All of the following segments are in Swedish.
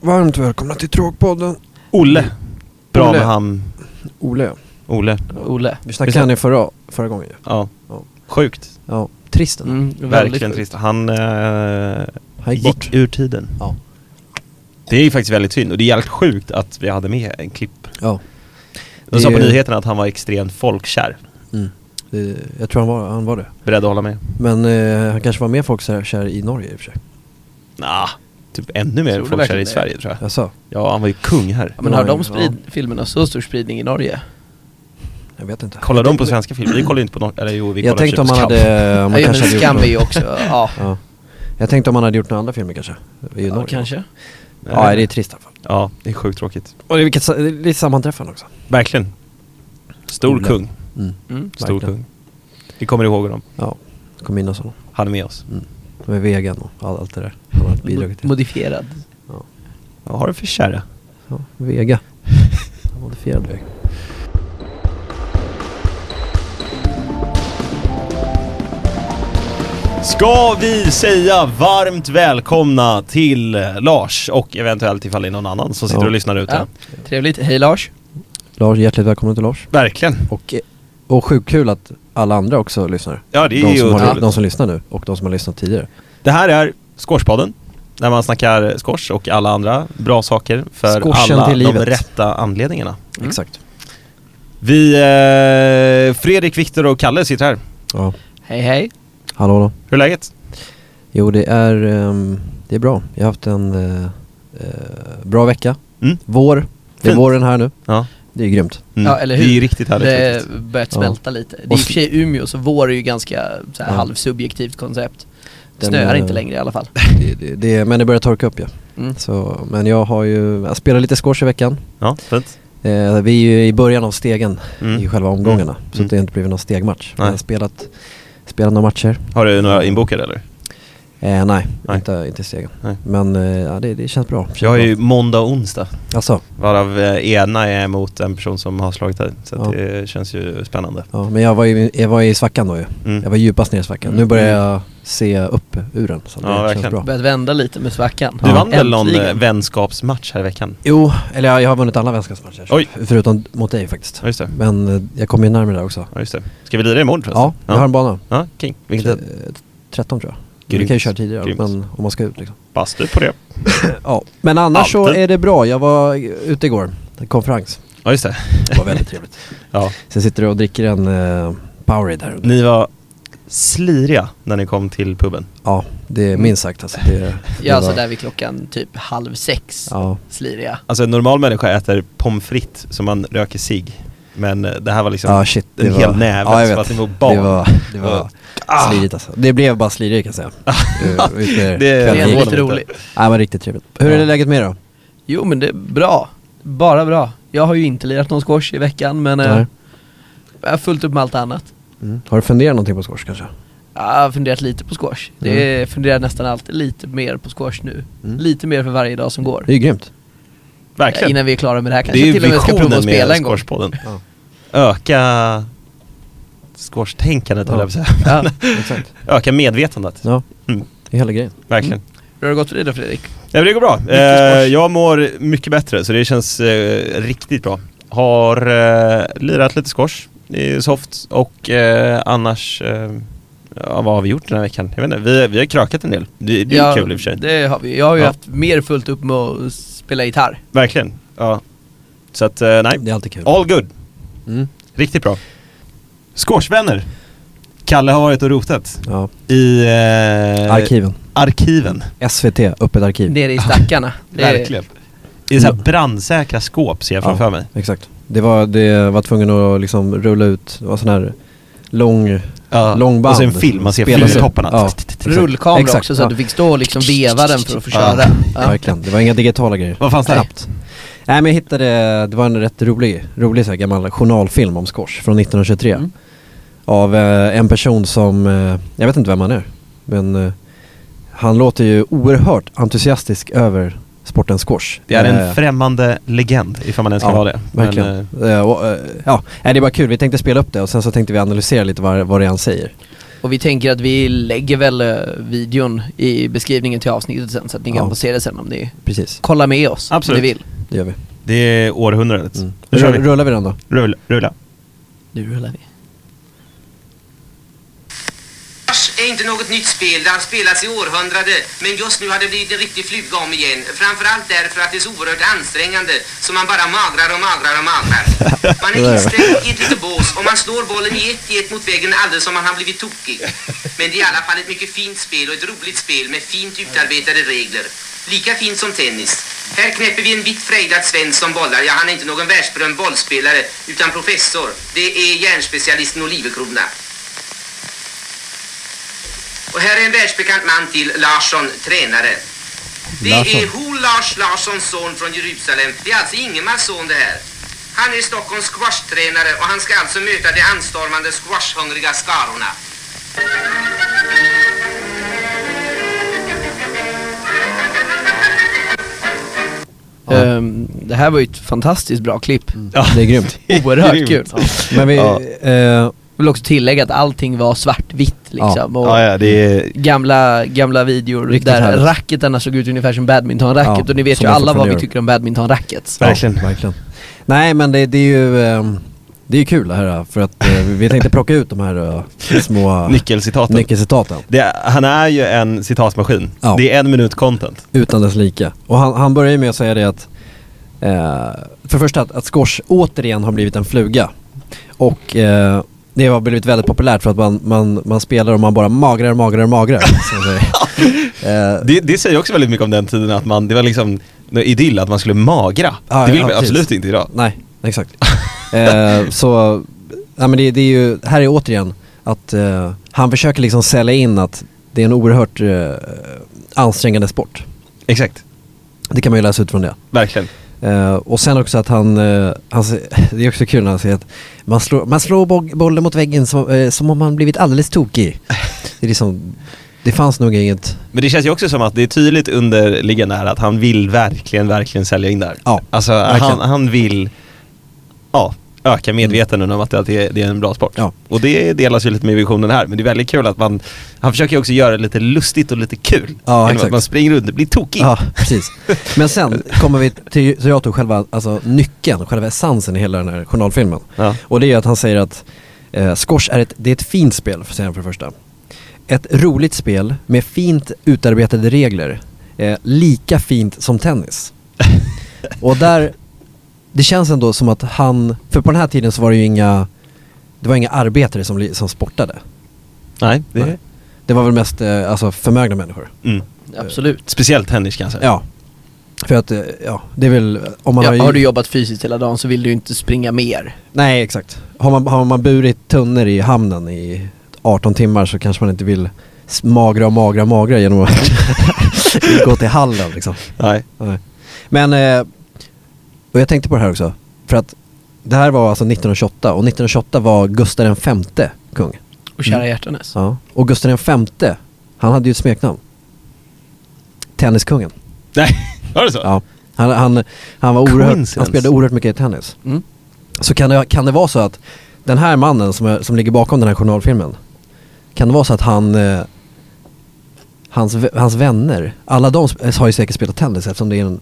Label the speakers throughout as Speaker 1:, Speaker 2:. Speaker 1: Varmt välkomna till Tråkpodden.
Speaker 2: Olle. Bra
Speaker 1: Olle.
Speaker 2: med han.
Speaker 1: Ole, ja.
Speaker 2: Ole.
Speaker 3: Olle.
Speaker 1: vi
Speaker 2: Vi
Speaker 1: snackade
Speaker 2: snack-
Speaker 1: han i förra, förra gången ju.
Speaker 2: Ja.
Speaker 1: Ja.
Speaker 2: Sjukt.
Speaker 1: Ja, trist ändå.
Speaker 3: Mm,
Speaker 2: Verkligen
Speaker 3: väldigt
Speaker 2: trist. Han eh,
Speaker 1: Han gick,
Speaker 2: gick
Speaker 1: bort.
Speaker 2: ur tiden.
Speaker 1: Ja.
Speaker 2: Det är ju faktiskt väldigt synd och det är jävligt sjukt att vi hade med en klipp.
Speaker 1: Ja,
Speaker 2: De sa
Speaker 1: Det- Mm.
Speaker 2: på nyheterna att han var extremt folkkär.
Speaker 1: det, jag tror han var, han var det.
Speaker 2: Beredd att hålla med?
Speaker 1: Men eh, han kanske var mer folkkär i Norge i och för sig.
Speaker 2: Nah, typ ännu
Speaker 3: Tror
Speaker 2: mer
Speaker 3: du
Speaker 2: folkkär i
Speaker 3: verkligen det?
Speaker 2: Sverige tror jag.
Speaker 1: Jaså?
Speaker 2: Ja, han var ju kung här.
Speaker 3: Ja, men har de
Speaker 1: Ja.
Speaker 3: sprid, filmerna så stor spridning i Norge?
Speaker 1: Jag vet inte.
Speaker 2: Kollar de på svenska filmer? Vi kollar ju inte på norska, eller jo vi
Speaker 1: Jag
Speaker 2: kollar
Speaker 1: tänkte om
Speaker 2: Schindler's
Speaker 1: han
Speaker 2: Kamp.
Speaker 1: hade... Om
Speaker 3: Ja,
Speaker 1: han
Speaker 3: men
Speaker 1: kanske hade
Speaker 3: Skam
Speaker 1: gjort
Speaker 3: är
Speaker 1: något.
Speaker 3: ju också, ja,
Speaker 1: Ja. Jag tänkte om han hade gjort några andra filmer kanske. I
Speaker 3: ja
Speaker 1: Norge.
Speaker 3: kanske.
Speaker 1: Ja, det är trist i alla fall.
Speaker 2: Ja, det är sjukt tråkigt.
Speaker 1: Och det är vilket sa- det är lite sammanträffande också.
Speaker 2: Verkligen. Stor
Speaker 1: Olle.
Speaker 2: kung.
Speaker 1: Mm.
Speaker 3: Mm.
Speaker 2: Stor
Speaker 1: Verkligen.
Speaker 2: kung. Vi kommer ihåg honom.
Speaker 1: Ja, jag kommer minnas honom.
Speaker 2: Han är med oss.
Speaker 1: Med vegan och all- allt det där. Han har bidragit till.
Speaker 3: Modifierad.
Speaker 2: Vad har du för kärra?
Speaker 1: Ja, vega. Han modifierade vega.
Speaker 2: Ska vi säga varmt välkomna till eh, Lars och eventuellt ifall det är någon annan som sitter
Speaker 1: Ja.
Speaker 2: och lyssnar ute.
Speaker 3: Ja. Trevligt. Hej Lars.
Speaker 1: Lars, hjärtligt välkommen till Lars.
Speaker 2: Verkligen.
Speaker 1: Och, och sjukt kul att alla andra också lyssnar.
Speaker 2: Ja, det är
Speaker 1: de,
Speaker 2: ju
Speaker 1: som har,
Speaker 2: otroligt.
Speaker 1: de som lyssnar nu och de som har lyssnat tidigare.
Speaker 2: Det här är Squashpodden. Där man snackar squash och alla andra bra saker för
Speaker 1: Squashen
Speaker 2: alla
Speaker 1: till
Speaker 2: de
Speaker 1: livet.
Speaker 2: rätta anledningarna.
Speaker 3: Mm.
Speaker 1: Exakt.
Speaker 2: Vi, eh, Fredrik, Viktor och Kalle sitter här.
Speaker 1: Ja.
Speaker 3: Hej hej.
Speaker 1: Hallå då.
Speaker 2: Hur är läget?
Speaker 1: Jo, det är, ehm, det är bra. Jag har haft en eh, eh, bra vecka.
Speaker 2: Mm.
Speaker 1: Vår. Det är
Speaker 2: Fint.
Speaker 1: våren här nu.
Speaker 2: Ja.
Speaker 1: Det är grymt.
Speaker 2: Mm.
Speaker 3: Ja, eller hur?
Speaker 2: Det är ju riktigt härligt
Speaker 3: Det
Speaker 2: faktiskt.
Speaker 3: börjat
Speaker 1: Ja.
Speaker 3: smälta lite. Det är i
Speaker 1: Och
Speaker 3: och för sig Umeå så vår är ju ganska så här,
Speaker 1: Ja.
Speaker 3: halvsubjektivt koncept.
Speaker 1: Den,
Speaker 3: Snöar
Speaker 1: eh,
Speaker 3: inte längre i alla fall.
Speaker 1: Det, det, det, men det börjar torka upp ja.
Speaker 3: Mm.
Speaker 1: Så, men jag har ju, jag spelar lite squash i veckan.
Speaker 2: Ja, fint.
Speaker 1: Eh, vi är ju i början av stegen i
Speaker 2: Mm.
Speaker 1: själva omgångarna. Så
Speaker 2: Mm.
Speaker 1: det har inte blivit någon stegmatch. Men
Speaker 2: Nej.
Speaker 1: jag har spelat, spelat några matcher.
Speaker 2: Har du några inbokade eller?
Speaker 1: Eh, nej,
Speaker 2: Nej.
Speaker 1: inte, inte i stegen.
Speaker 2: Nej.
Speaker 1: Men eh, ja, det, det känns bra. Känns
Speaker 2: Jag har
Speaker 1: bra.
Speaker 2: ju måndag och onsdag.
Speaker 1: Alltså,
Speaker 2: Varav eh, ena är mot en person som har slagit dig. Så att
Speaker 1: Ja.
Speaker 2: det känns ju spännande.
Speaker 1: ja, men jag var, ju, jag var i svackan då ju.
Speaker 2: Mm.
Speaker 1: Jag var djupast ner i svackan. Nu börjar jag se upp ur den. Så
Speaker 2: Ja,
Speaker 1: det
Speaker 2: verkligen.
Speaker 1: känns bra.
Speaker 3: Börjat vända lite med svackan.
Speaker 2: Du vann väl någon eh,
Speaker 3: Äntligen.
Speaker 2: vänskapsmatch här i veckan?
Speaker 1: Jo, eller jag, jag har vunnit alla vänskapsmatcher.
Speaker 2: Oj.
Speaker 1: Förutom mot dig faktiskt.
Speaker 2: Ja just det.
Speaker 1: Men eh, jag kommer ju närmare där också.
Speaker 2: Ja, just det. Ska vi lira imorgon förresten?
Speaker 1: Ja, jag har en bana.
Speaker 2: Ja, king. Vilken tid?
Speaker 1: Tre- eh, 13 tror jag. Vi
Speaker 2: Grymt.
Speaker 1: kan ju köra tidigare
Speaker 2: Grymt.
Speaker 1: men om man ska ut liksom.
Speaker 2: Bastu på det.
Speaker 1: Ja. Men annars så
Speaker 2: Alltid.
Speaker 1: är det bra. Jag var ute igår, en konferens.
Speaker 2: Ja just det.
Speaker 1: Det var väldigt trevligt.
Speaker 2: Ja.
Speaker 1: Sen sitter du och dricker en eh, Powerade här under.
Speaker 2: Ni var sliriga när ni kom till puben.
Speaker 1: Ja, det är minst sagt alltså. Det, det
Speaker 3: Ja, alltså
Speaker 1: var-
Speaker 3: där vid klockan typ halv sex,
Speaker 1: Ja,
Speaker 3: sliriga.
Speaker 2: Alltså en normal människa äter pommes frites som man röker sig. Men eh, det här var liksom
Speaker 1: ja shit. Det
Speaker 2: en
Speaker 1: var,
Speaker 2: hel näve.
Speaker 1: Ja, jag
Speaker 2: som
Speaker 1: vet.
Speaker 2: att ni var barn.
Speaker 1: Det var, det var
Speaker 2: Ah.
Speaker 1: slirigt alltså. Det blev bara slirigt kan jag säga. Eh, ut med
Speaker 2: Det
Speaker 3: Det
Speaker 1: kvällen.
Speaker 3: är
Speaker 2: förvånar
Speaker 3: riktigt
Speaker 2: mig inte.
Speaker 3: roligt.
Speaker 1: Nej, men riktigt trevligt. Hur är det läget med dig då?
Speaker 3: Jo men det är bra, bara bra. Jag har ju inte lirat någon squash i veckan men eh,
Speaker 1: Nej.
Speaker 3: jag har fullt upp med allt annat.
Speaker 1: Mm. Har du funderat någonting på squash kanske?
Speaker 3: Jag har funderat lite på squash. Det
Speaker 2: Mm.
Speaker 3: jag funderar nästan alltid lite mer på squash nu.
Speaker 1: Mm.
Speaker 3: Lite mer för varje dag som går.
Speaker 1: Det är ju grymt.
Speaker 3: Ja,
Speaker 2: Verkligen.
Speaker 3: Innan vi är klara med det här
Speaker 2: det
Speaker 3: kanske
Speaker 2: är
Speaker 3: jag
Speaker 2: ju
Speaker 3: till och med ska prova
Speaker 2: visionen
Speaker 3: att spela
Speaker 2: med
Speaker 3: en gång.
Speaker 2: squashpodden.
Speaker 1: Ja.
Speaker 2: Öka squashtänkandet
Speaker 1: Ja.
Speaker 2: höll jag på att säga.
Speaker 3: Ja.
Speaker 1: Exakt.
Speaker 2: Öka medvetandet.
Speaker 1: Ja,
Speaker 2: Mm.
Speaker 1: det är hela grejen.
Speaker 2: Verkligen.
Speaker 3: Hur har det gått för dig då Fredrik?
Speaker 2: Nej men det går bra. Eh,
Speaker 3: squash.
Speaker 2: jag mår mycket bättre så det känns eh, riktigt bra. Har eh, lirat lite squash i soft och eh, annars, eh, ja, vad har vi gjort den här veckan? Jag vet inte, vi, vi har krökat en del. Det, det är
Speaker 3: Ja,
Speaker 2: kul i och för sig.
Speaker 3: Det har vi. Jag har ju
Speaker 2: Ja.
Speaker 3: haft mer fullt upp med att spela gitarr.
Speaker 2: Verkligen. Ja. Så att, eh, nej.
Speaker 1: Det är alltid kul.
Speaker 2: All good.
Speaker 1: Mm.
Speaker 2: Riktigt bra. Squashvänner. Kalle har varit och rotat
Speaker 1: Ja.
Speaker 2: i eh,
Speaker 1: Arkiven.
Speaker 2: arkiven.
Speaker 1: SVT, öppet arkiv.
Speaker 3: Nere i stackarna. Det är-
Speaker 2: Verkligen. I så här brandsäkra skåp ser jag framför mig.
Speaker 1: Exakt. Det var, det var tvungen att liksom rulla ut, det var sån här lång,
Speaker 2: Ja.
Speaker 1: lång band.
Speaker 2: Och så en film, man ser
Speaker 1: Spelas upp.
Speaker 2: filmtopparna.
Speaker 1: Ja.
Speaker 3: Rullkamera
Speaker 1: Exakt,
Speaker 3: också så
Speaker 1: ja.
Speaker 3: att du fick stå och liksom veva den för att få
Speaker 2: Ja.
Speaker 3: köra. Ja.
Speaker 1: Verkligen, det var inga digitala grejer.
Speaker 2: Vad fanns det?
Speaker 1: Knappt. Nej men jag hittade, det var en rätt rolig, rolig så här gammal journalfilm om squash från 1923.
Speaker 3: Mm.
Speaker 1: Av eh, en person som, eh, jag vet inte vem han är, men eh, han låter ju oerhört entusiastisk över sporten squash.
Speaker 2: Det är
Speaker 1: Eh,
Speaker 2: en främmande legend ifall man ens kan
Speaker 1: Ja,
Speaker 2: vara det. Men, eh,
Speaker 1: Verkligen. Eh, och, eh, ja, nej, det är bara kul. Vi tänkte spela upp det och sen så tänkte vi analysera lite vad, vad det är han säger.
Speaker 3: Och vi tänker att vi lägger väl eh, videon i beskrivningen till avsnittet sen så att ni kan
Speaker 1: Ja.
Speaker 3: få se det sen om ni
Speaker 1: Precis,
Speaker 3: kollar med oss
Speaker 2: Absolut.
Speaker 3: om ni vill.
Speaker 1: det gör vi.
Speaker 2: Det är århundradet.
Speaker 1: Mm.
Speaker 2: Nu kör vi.
Speaker 1: Rull- Rullar vi den då?
Speaker 2: Rulla. rulla.
Speaker 3: Nu rullar vi.
Speaker 4: Mars är inte något nytt spel, det har spelats i århundrade, men just nu har det blivit en riktig fluga om igen. Framförallt därför att det är så oerhört ansträngande, så man bara magrar och magrar och magrar. Man
Speaker 1: Det där.
Speaker 4: är instängd i ett litet bås och man slår bollen i ett, i ett mot väggen alldeles som man har blivit tokig. Men det är i alla fall ett mycket fint spel och ett roligt spel med fint utarbetade regler. Lika fint som tennis. Här knäpper vi en vitt frejdad svensk som bollar. Ja, han är inte någon världsberömd bollspelare, utan professor. Det är järnspecialisten Olivekrona. Och här är en världsbekant man till, Larsson, tränare. Det
Speaker 1: Larsson.
Speaker 4: är Ho Lars Larssons son från Jerusalem. Det är alltså Ingemars son det här. Han är Stockholms squashtränare och han ska alltså möta de anstormande squashhungriga skarorna.
Speaker 3: Ehm, det här var ju ett fantastiskt bra klipp.
Speaker 2: Ja.
Speaker 1: Det är Mm. grymt.
Speaker 3: Oerhört kul.
Speaker 1: Men vi,
Speaker 2: Ja.
Speaker 1: eh,
Speaker 3: Jag vill också tillägga att allting var svartvitt liksom. Och
Speaker 2: Ja, ja, det
Speaker 1: Mm.
Speaker 2: är...
Speaker 3: Gamla, gamla videor
Speaker 1: Riktigt
Speaker 3: där
Speaker 1: härligt.
Speaker 3: racketarna såg ut ungefär som badmintonracket
Speaker 1: Ja,
Speaker 3: och ni vet
Speaker 1: som
Speaker 3: ju
Speaker 1: de
Speaker 3: alla vad
Speaker 1: fortfarande
Speaker 3: vi
Speaker 1: gör.
Speaker 3: tycker om badmintonracket.
Speaker 2: Ja. Verkligen.
Speaker 1: Ja, verkligen. Nej men det, det är ju ehm, det är kul det här för att eh, vi tänkte plocka ut de här eh, små
Speaker 2: Nyckelcitaten.
Speaker 1: nyckelcitaten
Speaker 2: Det, är- han är ju en citatmaskin.
Speaker 1: Ja.
Speaker 2: Det är en minut content.
Speaker 1: utan dess like. Och han, han börjar ju med att säga det att eh, för det första att, att squash återigen har blivit en fluga. Och eh, det har blivit väldigt populärt för att man, man, man spelar och man bara magrar, magrar, magrar. som man säger. eh,
Speaker 2: Det, det säger också väldigt mycket om den tiden att man, det var liksom en idyll att man skulle magra.
Speaker 1: Ja,
Speaker 2: det vill
Speaker 1: ja,
Speaker 2: man
Speaker 1: precis.
Speaker 2: absolut inte idag.
Speaker 1: Nej, exakt. eh, så, ja men det, det är ju, här är återigen att eh, han försöker liksom sälja in att det är en oerhört eh, ansträngande sport.
Speaker 2: Exakt,
Speaker 1: Det kan man ju läsa ut från det.
Speaker 2: verkligen.
Speaker 1: Eh, och sen också att han, eh, han se- det är också kul när han säger att man slår, man slår bo- bollen mot väggen som, eh, som om man blivit alldeles tokig. Det är liksom, det fanns nog inget,
Speaker 2: Men det känns ju också som att det är tydligt underliggande här att han vill verkligen, verkligen sälja in det här.
Speaker 1: Ja,
Speaker 2: alltså
Speaker 1: verkligen.
Speaker 2: han, han vill ja, öka medvetandet om att det är, det är en bra sport.
Speaker 1: Ja.
Speaker 2: Och det delas ju lite med visionen här, men det är väldigt kul att man, han försöker ju också göra det lite lustigt och lite kul.
Speaker 1: Ja,
Speaker 2: Genom att
Speaker 1: exakt.
Speaker 2: Man springer runt och blir tokig.
Speaker 1: ja precis. Men sen kommer vi till, så jag tog själva, alltså nyckeln, själva essensen i hela den här journalfilmen.
Speaker 2: Ja.
Speaker 1: Och det är ju att han säger att eh, squash är ett, det är ett fint spel, för- säger han för det första. Ett roligt spel med fint utarbetade regler. Eh, lika fint som tennis. Och där, det känns ändå som att han, för på den här tiden så var det ju inga, det var inga arbetare som, li- som sportade.
Speaker 2: Nej, det
Speaker 1: Nej. Det var väl mest eh, alltså förmögna människor.
Speaker 2: Mm.
Speaker 3: Absolut.
Speaker 2: Speciellt tennis kanske.
Speaker 1: Ja. För att, eh, ja, det är väl, om man
Speaker 3: Ja,
Speaker 1: har, ju-
Speaker 3: har du jobbat fysiskt hela dagen så vill du ju inte springa mer.
Speaker 1: Nej, exakt. Har man, har man burit tunnor i hamnen i 18 timmar så kanske man inte vill s- magra och magra och magra genom att gå till hallen liksom.
Speaker 2: Nej.
Speaker 1: Nej. Men, eh, och jag tänkte på det här också, för att det här var alltså 1928 och 1928 var Gustav den femte kung.
Speaker 3: Och kära
Speaker 2: Mm.
Speaker 3: hjärtanes.
Speaker 1: Ja. Och Gustav den femte, han hade ju ett smeknamn. Tenniskungen.
Speaker 2: Nej, var det så?
Speaker 1: Ja. Han, han, han, var oerhört, han
Speaker 2: Coincidence.
Speaker 1: spelade oerhört mycket tennis.
Speaker 3: Mm.
Speaker 1: Så kan det, kan det vara så att den här mannen som, är, som ligger bakom den här journalfilmen, kan det vara så att han, eh, hans, v- hans vänner, alla de sp- har ju säkert spelat tennis eftersom det är den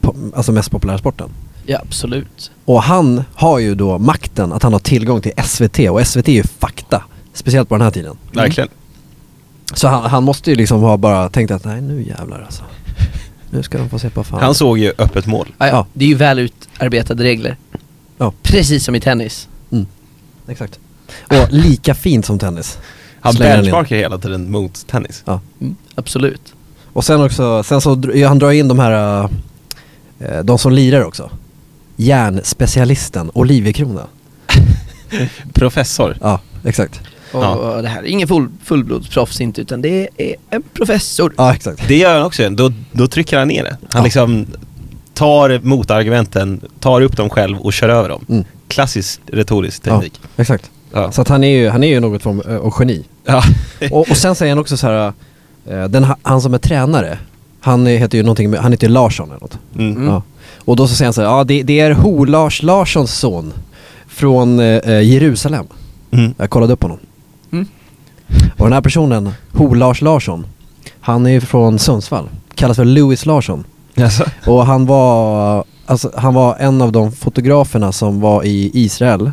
Speaker 1: po- alltså mest populära sporten.
Speaker 3: Ja, absolut.
Speaker 1: Och han har ju då makten att han har tillgång till SVT och SVT är ju fakta, speciellt på den här tiden.
Speaker 2: Mm. Verkligen.
Speaker 1: Så han, han måste ju liksom ha bara tänkt att nej nu jävlar alltså. Nu ska de få se på fan.
Speaker 2: Han såg ju öppet mål.
Speaker 3: Ah, Ja,
Speaker 1: Ja.
Speaker 3: ja. Det är ju väl utarbetade regler.
Speaker 1: Ja. Mm.
Speaker 3: Precis som i tennis.
Speaker 1: Exakt. Och lika fint som tennis.
Speaker 2: Han
Speaker 1: Slänger den in.
Speaker 2: benchmarkar hela tiden mot tennis.
Speaker 1: Ja.
Speaker 3: Mm. Absolut.
Speaker 1: Och sen också, sen så dr- han drar in de här, eh, de som lirar också. Järnspecialisten Olivekrona.
Speaker 2: Professor.
Speaker 1: Ja, exakt.
Speaker 3: Och,
Speaker 2: Ja.
Speaker 3: och det här är ingen full, fullblodsproffs inte utan det är en professor.
Speaker 1: Ja, exakt.
Speaker 2: Det gör han också, då, då trycker han ner det. Han
Speaker 1: Ja.
Speaker 2: liksom tar motargumenten, tar upp dem själv och kör över dem.
Speaker 1: Mm.
Speaker 2: Klassisk retorisk teknik.
Speaker 1: Ja, exakt.
Speaker 2: Ja.
Speaker 1: Så att han är ju, han är ju något form eh, av geni.
Speaker 2: Ja.
Speaker 1: Och, och sen säger han också så här, eh, den, ha- han som är tränare, han eh, heter ju någonting, med- han heter ju Larsson eller något.
Speaker 2: Mm.
Speaker 1: Ja. Och då så säger han så här, ja det, det är Ho Lars Larssons son från eh, eh, Jerusalem.
Speaker 2: Mm.
Speaker 1: Jag kollade upp honom.
Speaker 3: Mm.
Speaker 1: Och den här personen, Ho-Lars Larsson, han är ju från Sundsvall. Kallas för Louis Larsson.
Speaker 2: Alltså.
Speaker 1: Och han var, alltså, han var en av de fotograferna som var i Israel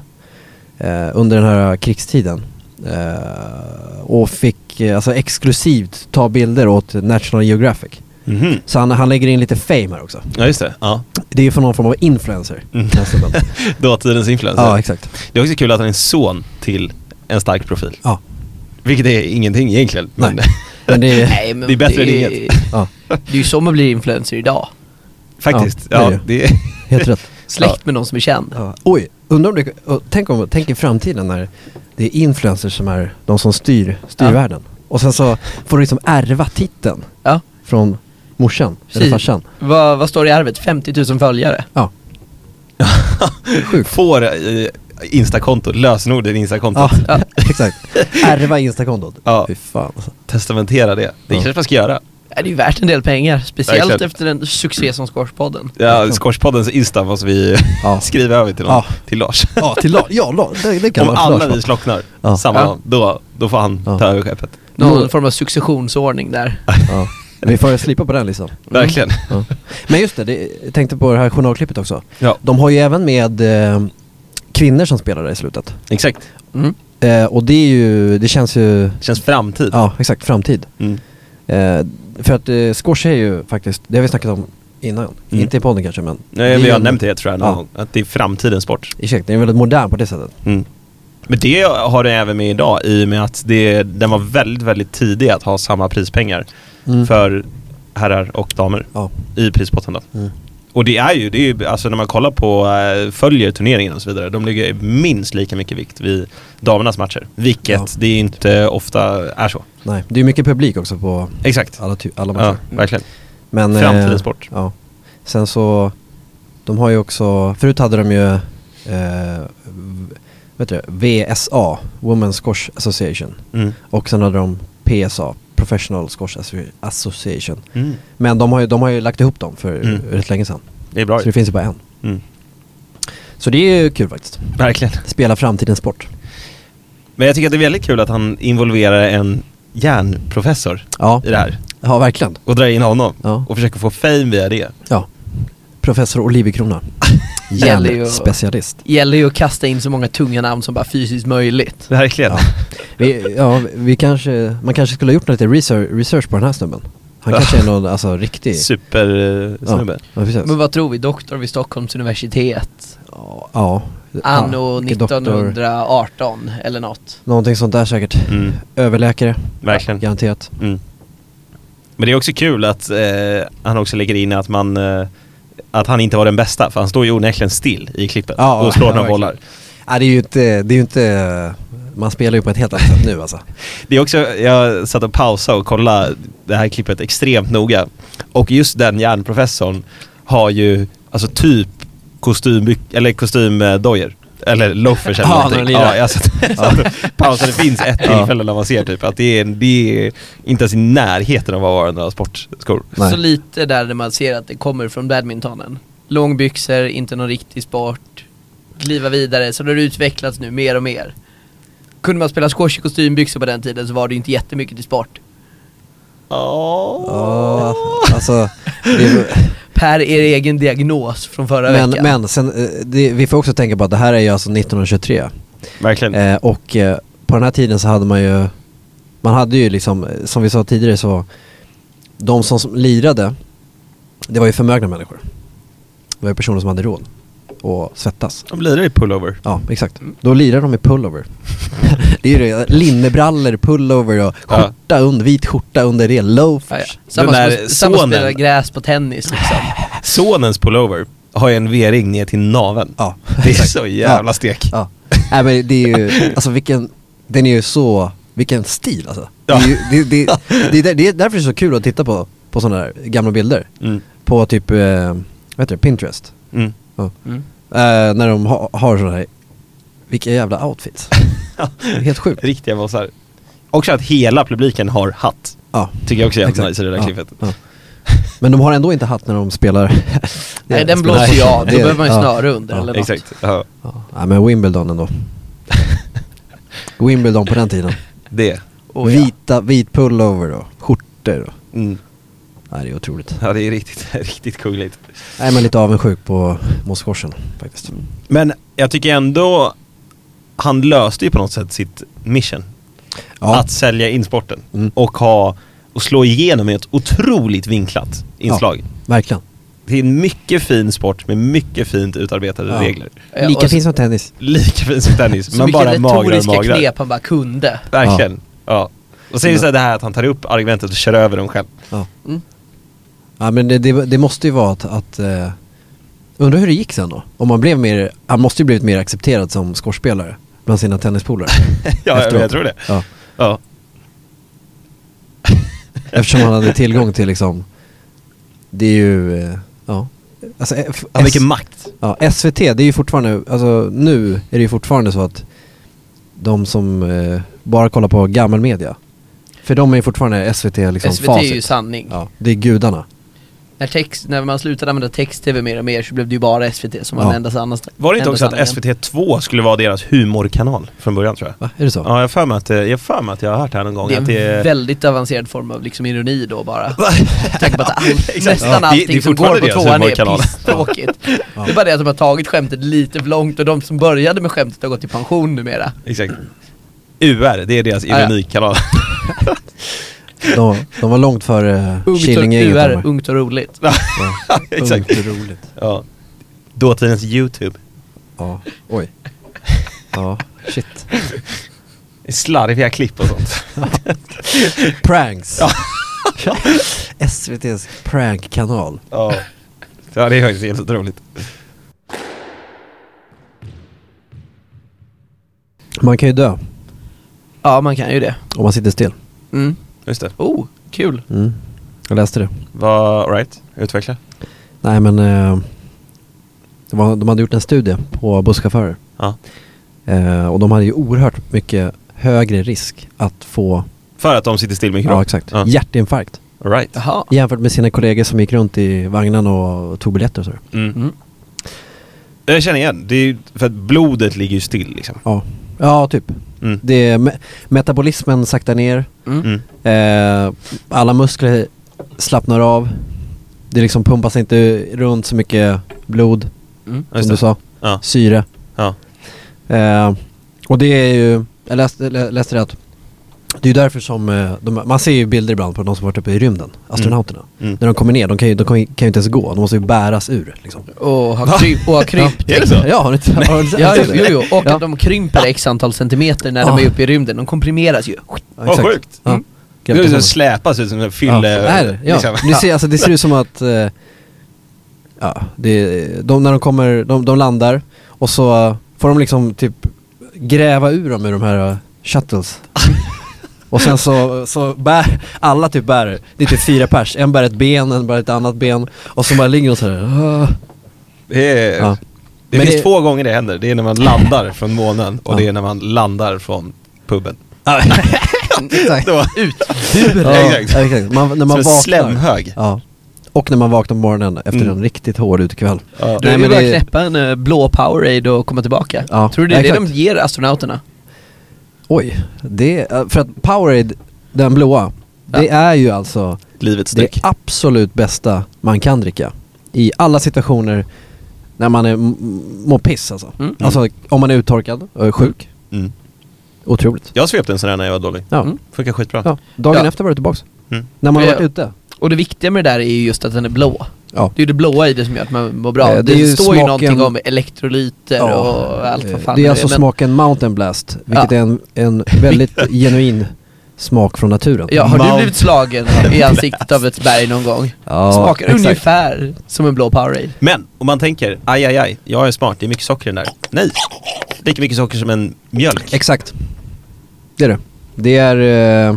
Speaker 1: eh, under den här krigstiden. Eh, och fick eh, alltså, exklusivt ta bilder åt National Geographic.
Speaker 2: Mhm.
Speaker 1: Så han, han lägger in lite fame här också.
Speaker 2: Ja just det, ja.
Speaker 1: Det är ju för någon form av influencer.
Speaker 2: Mm.
Speaker 1: den här snubben.
Speaker 2: dåtidens influencer.
Speaker 1: ja, exakt.
Speaker 2: Det är också kul att han är son till en stark profil.
Speaker 1: Ja.
Speaker 2: Vilket är ingenting egentligen. Men
Speaker 1: Nej. Men det är,
Speaker 3: Nej, men
Speaker 2: Det är bättre än inget.
Speaker 1: ja,
Speaker 3: Det är ju så man blir influencer idag.
Speaker 2: faktiskt,
Speaker 1: Ja,
Speaker 2: ja,
Speaker 1: det är
Speaker 2: det är
Speaker 1: helt rätt.
Speaker 3: Släkt med någon som är känd.
Speaker 1: Ja. Oj, undrar om det, och tänk, om, tänk i framtiden när det är influencers som är de som styr, styr
Speaker 3: Ja.
Speaker 1: världen. Och sen så får du liksom ärva titeln
Speaker 3: Ja.
Speaker 1: från morsan eller
Speaker 3: Precis.
Speaker 1: farsan.
Speaker 3: Vad, vad står det i arvet? 50 000 följare?
Speaker 1: Ja. Sjukt.
Speaker 2: får eh, instakonto, lösenordet i instakontot.
Speaker 1: Ja, exakt. Ärva instakontot.
Speaker 2: Ja.
Speaker 1: Fy fan alltså.
Speaker 2: Testamentera det.
Speaker 1: Ja.
Speaker 2: Det kanske man ska göra.
Speaker 3: Ja, Det är ju värt en del pengar, speciellt
Speaker 2: Verkligen.
Speaker 3: efter en succé som Squashpodden.
Speaker 2: Ja, Squashpoddens Insta måste vi
Speaker 1: Ja.
Speaker 2: skriva över till, någon,
Speaker 1: Ja.
Speaker 2: till Lars.
Speaker 1: Ja, till la, ja, la, det, det kan
Speaker 2: Om
Speaker 1: vara
Speaker 2: alla
Speaker 1: förslag.
Speaker 2: vi slocknar
Speaker 1: Ja.
Speaker 2: samma
Speaker 3: Ja.
Speaker 2: dag, då, då får han
Speaker 1: Ja.
Speaker 2: ta över skeppet.
Speaker 3: Någon
Speaker 1: Jo.
Speaker 3: form av successionsordning där.
Speaker 1: ja. Vi får slipa på den liksom.
Speaker 2: Verkligen.
Speaker 1: Ja. Men just det, det, jag tänkte på det här journalklippet också.
Speaker 2: Ja,
Speaker 1: De har ju även med eh, kvinnor som spelar där i slutet.
Speaker 2: exakt.
Speaker 3: Mm.
Speaker 1: Eh, och det är ju, det känns ju,
Speaker 2: Känns framtid.
Speaker 1: ja exakt, framtid.
Speaker 2: Mm.
Speaker 1: Eh, för att eh, squash är ju faktiskt, det har vi snackat om innan.
Speaker 2: Mm.
Speaker 1: Inte i podden kanske men.
Speaker 2: Nej,
Speaker 1: är
Speaker 2: vi har
Speaker 1: en-
Speaker 2: nämnt det tror jag någon
Speaker 1: Ja.
Speaker 2: gång, att det är framtidens sport.
Speaker 1: Exakt, den är väldigt modern på det sättet.
Speaker 2: Mm. Men det har den även med idag i och med att det, den var väldigt, väldigt tidig att ha samma prispengar
Speaker 1: Mm.
Speaker 2: för herrar och damer
Speaker 1: Ja.
Speaker 2: i prispotten då.
Speaker 1: Mm.
Speaker 2: Och det är ju, det är ju, alltså när man kollar på, eh, följer turneringen och så vidare, de lägger minst lika mycket vikt vid damernas matcher. Vilket
Speaker 1: Ja.
Speaker 2: det är inte ofta är så.
Speaker 1: Nej, det är ju mycket publik också på
Speaker 2: Exakt.
Speaker 1: alla, ty- alla
Speaker 2: Ja,
Speaker 1: matcher.
Speaker 2: verkligen.
Speaker 1: Men, eh,
Speaker 2: Framtidens sport.
Speaker 1: Ja. Sen så, de har ju också, förut hade de ju, eh, v- vet du, VSA, Women's Squash Association.
Speaker 2: Mm.
Speaker 1: Och sen hade de PSA, Professional Squash Asso- Association.
Speaker 2: Mm.
Speaker 1: Men de har ju, de har ju lagt ihop dem för
Speaker 2: Mm.
Speaker 1: rätt länge sedan.
Speaker 2: Det är bra
Speaker 1: Så det
Speaker 2: ju.
Speaker 1: finns ju bara en.
Speaker 2: mm.
Speaker 1: Så det är ju kul faktiskt.
Speaker 2: Verkligen.
Speaker 1: Spela framtidens sport.
Speaker 2: Men jag tycker att det är väldigt kul att han involverar en hjärnprofessor
Speaker 1: Ja,
Speaker 2: i det här.
Speaker 1: ja verkligen.
Speaker 2: och drar in honom
Speaker 1: Ja.
Speaker 2: och försöker få fame via det.
Speaker 1: Ja. Professor Olivecrona.
Speaker 3: Gäller ju-
Speaker 1: Hjärnspecialist.
Speaker 3: Gäller ju att kasta in så många tunga namn som bara fysiskt möjligt.
Speaker 2: Verkligen.
Speaker 1: Ja. Vi, ja, vi kanske, man kanske skulle ha gjort lite research, research på den här snubben. Han kanske är någon, alltså riktig...
Speaker 2: Supersnubbe.
Speaker 1: Ja, precis.
Speaker 3: Men vad tror vi? Doktor vid Stockholms universitet?
Speaker 1: Ja.
Speaker 3: Anno
Speaker 1: Ja, doktor.
Speaker 3: 1918 eller något.
Speaker 1: Någonting sånt där säkert.
Speaker 2: Mm.
Speaker 1: Överläkare.
Speaker 2: Verkligen.
Speaker 1: Garanterat.
Speaker 2: Mm. Men det är också kul att eh, han också lägger in att man eh, att han inte var den bästa, för han står ju onekligen still i klippet
Speaker 1: Ja,
Speaker 2: och slår
Speaker 1: ja,
Speaker 2: några
Speaker 1: verkligen.
Speaker 2: bollar.
Speaker 1: Ja, det är ju inte, det är ju inte... Man spelar ju på ett helt annat sätt nu alltså.
Speaker 2: Det är också, jag satt och pausade och kollade det här klippet extremt noga. Och just den hjärnprofessorn har ju, alltså typ kostym, eller kostymdojor. Eller loafers eller
Speaker 1: Ja,
Speaker 2: någonting.
Speaker 1: när de lirar.
Speaker 2: Ja, jag satt, jag satt och pausade. Det finns ett
Speaker 1: Ja.
Speaker 2: tillfälle när man ser typ att det är, det är inte ens i närheten av att vara några sportskor.
Speaker 1: Nej.
Speaker 3: Så lite där man ser att det kommer från badmintonen. Långbyxor, inte någon riktig sport. Kliva vidare, så det har utvecklats nu mer och mer. Kunde man spela squash i kostymbyxor på den tiden så var det ju inte jättemycket till sport.
Speaker 1: Ja, alltså... Det är,
Speaker 3: Per er egen diagnos från förra
Speaker 1: men,
Speaker 3: veckan.
Speaker 1: men sen, eh, det, vi får också tänka på att det här är ju alltså 1923.
Speaker 2: Verkligen.
Speaker 1: Eh, och eh, på den här tiden så hade man ju, man hade ju liksom, eh, som vi sa tidigare så, de som som lirade, det var ju förmögna människor. Det var ju personer som hade råd att svettas.
Speaker 2: De lirar i pullover.
Speaker 1: Ja, exakt. Då lirade de i pullover. det är ju det, linnebrallor, pullover och
Speaker 2: Ja.
Speaker 1: skjorta under, vit skjorta under det,
Speaker 3: Ja, ja.
Speaker 1: loafers.
Speaker 3: Samma,
Speaker 2: Den där
Speaker 3: som, samma som
Speaker 2: sonen.
Speaker 3: spelar gräs på tennis liksom.
Speaker 2: Sonens pullover har ju en V-ring ner till naveln.
Speaker 1: Ja,
Speaker 2: Det är
Speaker 1: exakt.
Speaker 2: så jävla stek.
Speaker 1: Ja. Nej men det är ju, alltså vilken, den är ju så, vilken stil alltså. Det, är ju, det, det, det, är där- det är därför det är så kul att titta på, på sådana där gamla bilder.
Speaker 2: Mm.
Speaker 1: På typ, eh, vad heter det, Pinterest.
Speaker 2: Mm.
Speaker 1: Ja. Eh, när de ha, har sådana här, vilka jävla outfits. Det är Helt sjukt.
Speaker 2: Riktiga bossar. Också att hela publiken har hatt.
Speaker 1: Ja.
Speaker 2: Tycker jag också är jävligt
Speaker 1: exakt.
Speaker 2: nice i det där
Speaker 1: Ja,
Speaker 2: klippet.
Speaker 1: ja. Men de har ändå inte hatt när de spelar. Det-
Speaker 3: Nej den
Speaker 1: spelar-
Speaker 3: blåser ju av, då
Speaker 1: det-
Speaker 3: behöver man ju
Speaker 1: ja.
Speaker 3: snöre under
Speaker 1: Ja,
Speaker 3: eller något.
Speaker 2: Exakt. Ja.
Speaker 1: Ja, men Wimbledon ändå. Wimbledon på den tiden.
Speaker 2: Det.
Speaker 3: Oh, ja.
Speaker 1: Vita, vit pullover då, skjortor då.
Speaker 2: Mm.
Speaker 1: Nej det är otroligt.
Speaker 2: Ja, det är riktigt, riktigt kungligt.
Speaker 1: Nej men lite avundsjuk på Mossgårdsen faktiskt.
Speaker 2: Men jag tycker ändå han löste ju på något sätt sitt mission.
Speaker 1: Ja,
Speaker 2: Att sälja in sporten
Speaker 1: Mm.
Speaker 2: och, ha, och slå igenom i ett otroligt vinklat inslag.
Speaker 1: verkligen.
Speaker 2: Det är en mycket fin sport med mycket fint utarbetade
Speaker 1: Ja.
Speaker 2: regler.
Speaker 3: Ja,
Speaker 1: Lika
Speaker 3: och så-
Speaker 1: fint som tennis.
Speaker 2: Lika fin som tennis,
Speaker 3: Så
Speaker 2: men
Speaker 3: mycket
Speaker 2: bara magrare och
Speaker 3: retoriska
Speaker 2: magrare.
Speaker 3: knep han bara kunde.
Speaker 2: Verkligen. Ja. Och sen är det så här det här att han tar upp argumentet och kör över dem själv.
Speaker 1: Ja.
Speaker 3: Mm.
Speaker 1: Ja men det, det, det måste ju vara att, att eh, undrar hur det gick sen då? Om man blev mer, han måste ju blivit mer accepterad som skådespelare bland sina tennispolare.
Speaker 2: Ja, jag,
Speaker 1: efteråt.
Speaker 2: jag tror det.
Speaker 1: Ja.
Speaker 2: Ja.
Speaker 1: Eftersom han hade tillgång till liksom, det är ju, eh, ja. Alltså, eh, f-
Speaker 2: Ja, vilken makt.
Speaker 1: Ja, SVT, det är ju fortfarande, alltså nu är det ju fortfarande så att de som eh, bara kollar på gammal media, för de är ju fortfarande SVT liksom
Speaker 3: SVT
Speaker 1: facit.
Speaker 3: är ju sanning.
Speaker 1: Ja, det är gudarna.
Speaker 3: När, text, när man slutade använda text-tv mer och mer så blev det ju bara SVT som var
Speaker 1: Ja.
Speaker 3: den enda annan
Speaker 2: Var det inte
Speaker 3: enda
Speaker 2: också att
Speaker 3: sanningen.
Speaker 2: SVT2 skulle vara deras humorkanal från början tror jag?
Speaker 1: Va, är det så?
Speaker 2: Ja, jag har för mig att, eh, jag har för mig att jag har hört det här någon gång.
Speaker 3: Det är en
Speaker 2: att det är...
Speaker 3: väldigt avancerad form av liksom ironi då bara. Med tanke på att all,
Speaker 2: Exakt.
Speaker 3: nästan
Speaker 2: Ja, det-
Speaker 3: allting
Speaker 2: det är
Speaker 3: som går
Speaker 2: fortfarande
Speaker 3: på
Speaker 2: deras
Speaker 3: tvåan är
Speaker 2: humorkanal.
Speaker 3: pisstråkigt. Det är bara det att de har tagit skämtet lite för långt och de som började med skämtet har gått i pension numera.
Speaker 2: Exakt. UR, det är deras
Speaker 3: ja.
Speaker 2: ironikanal.
Speaker 1: De, de var långt före
Speaker 3: Ungt och,
Speaker 1: Killinggänget.
Speaker 3: UR,
Speaker 1: de var.
Speaker 3: ungt och roligt.
Speaker 1: Ja,
Speaker 2: Exakt.
Speaker 1: Ungt och roligt.
Speaker 2: Ja. Dåtidens YouTube.
Speaker 1: Ja, oj. Ja, shit.
Speaker 2: Slarviga klipp och sånt.
Speaker 1: Pranks. SVT's prankkanal.
Speaker 2: ja. ja, det är faktiskt helt otroligt.
Speaker 1: Man kan ju dö
Speaker 3: Ja, man kan ju det.
Speaker 1: om man sitter still.
Speaker 3: Mm.
Speaker 2: Just det.
Speaker 3: Oh, kul.
Speaker 1: Mm. Jag läste det.
Speaker 2: Vad, right? Utveckla.
Speaker 1: Nej men eh, det var, de hade gjort en studie på busschaufförer
Speaker 2: Ja.
Speaker 1: eh, och de hade ju oerhört mycket högre risk att få
Speaker 2: För att de sitter still mycket
Speaker 1: ja, exakt,
Speaker 2: Ja.
Speaker 1: hjärtinfarkt
Speaker 2: Right.
Speaker 3: Jaha.
Speaker 1: jämfört med sina kollegor som gick runt i vagnen och tog biljetter och sådär.
Speaker 2: Mm.
Speaker 3: Mm.
Speaker 2: Jag känner igen. Det är ju för att blodet ligger ju still liksom.
Speaker 1: Ja, ja typ.
Speaker 2: Mm.
Speaker 1: Det är me- metabolismen saktar ner,
Speaker 3: Mm.
Speaker 2: Mm.
Speaker 1: eh, alla muskler slappnar av, det liksom pumpas inte runt så mycket blod
Speaker 3: Mm.
Speaker 2: Just
Speaker 1: som du
Speaker 2: det.
Speaker 1: sa,
Speaker 2: Ja.
Speaker 1: syre.
Speaker 2: Ja.
Speaker 1: Eh, och det är ju, jag läste, lä- läste det att det är ju därför som, eh, de, man ser ju bilder ibland på de som varit uppe i rymden, astronauterna.
Speaker 2: Mm.
Speaker 1: När de kommer ner, de kan ju, de kan ju, kan ju inte ens gå, de måste ju bäras ur liksom.
Speaker 3: Och har kryp, och har krypt.
Speaker 2: Är det så?
Speaker 1: Ja, har ni inte, har ni inte
Speaker 3: Ja,
Speaker 1: sett
Speaker 3: jo,
Speaker 1: det?
Speaker 3: jo, jo. och
Speaker 1: Ja.
Speaker 3: att de krymper x antal centimeter när de
Speaker 1: Ja.
Speaker 3: är uppe i rymden. De komprimeras ju.
Speaker 1: Ja,
Speaker 2: Vad
Speaker 1: exakt.
Speaker 2: sjukt.
Speaker 1: Ja.
Speaker 3: Mm.
Speaker 2: Det är ju så släpas ut som en
Speaker 1: Ja.
Speaker 2: fylle...
Speaker 1: Nej, det- ja.
Speaker 2: liksom.
Speaker 1: det, ser, alltså, det ser ut som att, eh, ja, det, de, när de kommer, de, de landar och så eh, får de liksom typ gräva ur dem ur de här eh, shuttles. och sen så, så bär, alla typ bär, det är typ fyra pers, en bär ett ben, en bär ett annat ben och så bara ligger de sådär. ah.
Speaker 2: Det, är,
Speaker 1: Ja.
Speaker 2: det
Speaker 1: Men
Speaker 2: finns
Speaker 1: det-
Speaker 2: två gånger det händer. Det är när man landar från månen och
Speaker 1: Ja.
Speaker 2: det är när man landar från puben.
Speaker 1: Exakt.
Speaker 2: Då,
Speaker 1: Ja,
Speaker 2: Exakt.
Speaker 1: exakt. Man, när man
Speaker 2: som en
Speaker 1: vaknar.
Speaker 2: slemhög.
Speaker 1: Ja. Och när man vaknar på morgonen efter
Speaker 2: Mm.
Speaker 1: en riktigt hård utekväll.
Speaker 2: Ja.
Speaker 3: Du är
Speaker 1: Nej,
Speaker 3: det
Speaker 1: men
Speaker 3: bara att
Speaker 1: det-
Speaker 3: knäppa en eh, blå Powerade och komma tillbaka.
Speaker 1: Ja,
Speaker 3: Tror du det är det
Speaker 1: exakt.
Speaker 3: de ger astronauterna?
Speaker 1: Oj, det, eh, för att Powerade, den blåa, det
Speaker 3: Ja.
Speaker 1: är ju alltså
Speaker 2: Livets
Speaker 1: det
Speaker 2: dryck.
Speaker 1: absolut bästa man kan dricka. I alla situationer när man är, m- m- mår piss alltså.
Speaker 3: Mm.
Speaker 1: Alltså om man är uttorkad och är sjuk.
Speaker 2: Mm.
Speaker 1: Otroligt.
Speaker 2: Jag svepte en sån där när jag var dålig.
Speaker 1: Ja.
Speaker 3: Mm.
Speaker 2: Funkar skitbra.
Speaker 1: ja. Dagen
Speaker 3: Ja.
Speaker 1: efter var det tillbaks.
Speaker 2: Mm.
Speaker 1: När man har
Speaker 3: Ja.
Speaker 1: varit ute.
Speaker 3: Och det viktiga med det där är ju just att den är blå.
Speaker 1: Ja.
Speaker 3: Det är ju det blåa i det som gör att man mår bra.
Speaker 1: Eh,
Speaker 3: det
Speaker 1: det är ju
Speaker 3: står ju
Speaker 1: smaken-
Speaker 3: någonting om elektrolyter och allt vad fan
Speaker 1: det är alltså
Speaker 3: men-
Speaker 1: smaken Mountain Blast, vilket
Speaker 3: Ja.
Speaker 1: är en, en väldigt genuin smak från naturen.
Speaker 3: Ja, har du
Speaker 2: Mount-
Speaker 3: blivit slagen i ansiktet av ett berg någon gång?
Speaker 1: Ja,
Speaker 3: Smakar
Speaker 1: exakt.
Speaker 3: ungefär som en blå Powerade.
Speaker 2: Men om man tänker, aj aj aj, jag är smart, det är mycket socker i den där. Nej, lika mycket socker som en mjölk.
Speaker 1: Exakt. Det är det. Det är eh,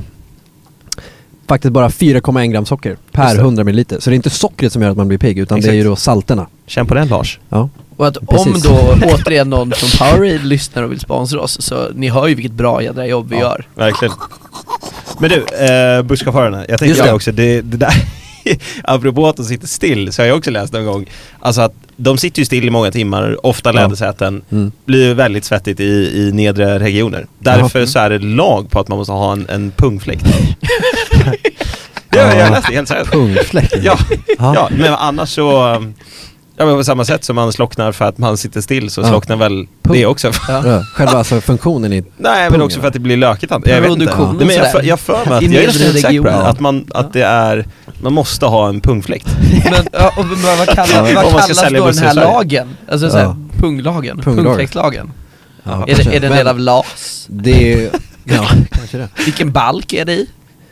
Speaker 1: faktiskt bara 4,1 gram socker per
Speaker 2: Just det.
Speaker 1: 100 milliliter. Så det är inte sockret som gör att man blir pigg utan
Speaker 2: Exakt.
Speaker 1: det är ju då salterna.
Speaker 2: Känn på den Lars.
Speaker 1: Ja.
Speaker 3: Och att
Speaker 1: Precis.
Speaker 3: om då återigen någon från Powerade lyssnar och vill sponsra oss, så ni hör ju vilket bra jädra jobb vi gör.
Speaker 2: Verkligen. Men du, eh, busschaufförerna. Jag
Speaker 1: Just
Speaker 2: tänkte
Speaker 1: det.
Speaker 2: det också, det, det där, apropå att de sitter still, så har jag också läst någon gång, alltså att de sitter ju still i många timmar, ofta
Speaker 1: Ja.
Speaker 2: lädersäten,
Speaker 1: Mm.
Speaker 2: blir väldigt svettigt i, i nedre regioner. Därför
Speaker 1: Ja.
Speaker 2: så är det lag på att man måste ha en, en pungfläkt. det har jag läst det, helt seriöst.
Speaker 1: Pungfläkt.
Speaker 2: Ja, ja, men annars så... Ja, men på samma sätt som man slocknar för att man sitter still så
Speaker 1: Ja.
Speaker 2: slocknar väl det också.
Speaker 1: Ja. Själva alltså funktionen i...
Speaker 2: Nej men
Speaker 1: Pungen,
Speaker 2: också för att det blir lökigt antar jag. jag. vet inte.
Speaker 3: Produktionen
Speaker 2: Nej, men jag,
Speaker 3: sådär.
Speaker 2: för, jag för mig att,
Speaker 3: I
Speaker 2: jag är
Speaker 3: nedre
Speaker 2: nästan helt säker på det här,
Speaker 3: region.
Speaker 2: att, man, att det är, man måste ha en pungfläkt.
Speaker 3: Men, ja, och vad vad
Speaker 1: Ja,
Speaker 3: kallas,
Speaker 1: om
Speaker 2: man
Speaker 3: vad
Speaker 2: ska
Speaker 3: kallas
Speaker 2: sälja
Speaker 3: då den
Speaker 2: bussar i
Speaker 3: här
Speaker 2: Sverige.
Speaker 3: lagen? Alltså såhär,
Speaker 1: Ja.
Speaker 3: punglagen,
Speaker 1: Punglagen.
Speaker 3: pungfläktslagen?
Speaker 1: Ja,
Speaker 3: Är
Speaker 1: kanske.
Speaker 3: det, är det en
Speaker 1: Men
Speaker 3: del av LAS?
Speaker 1: Det är... Ja, kanske det.
Speaker 3: Vilken balk är det i?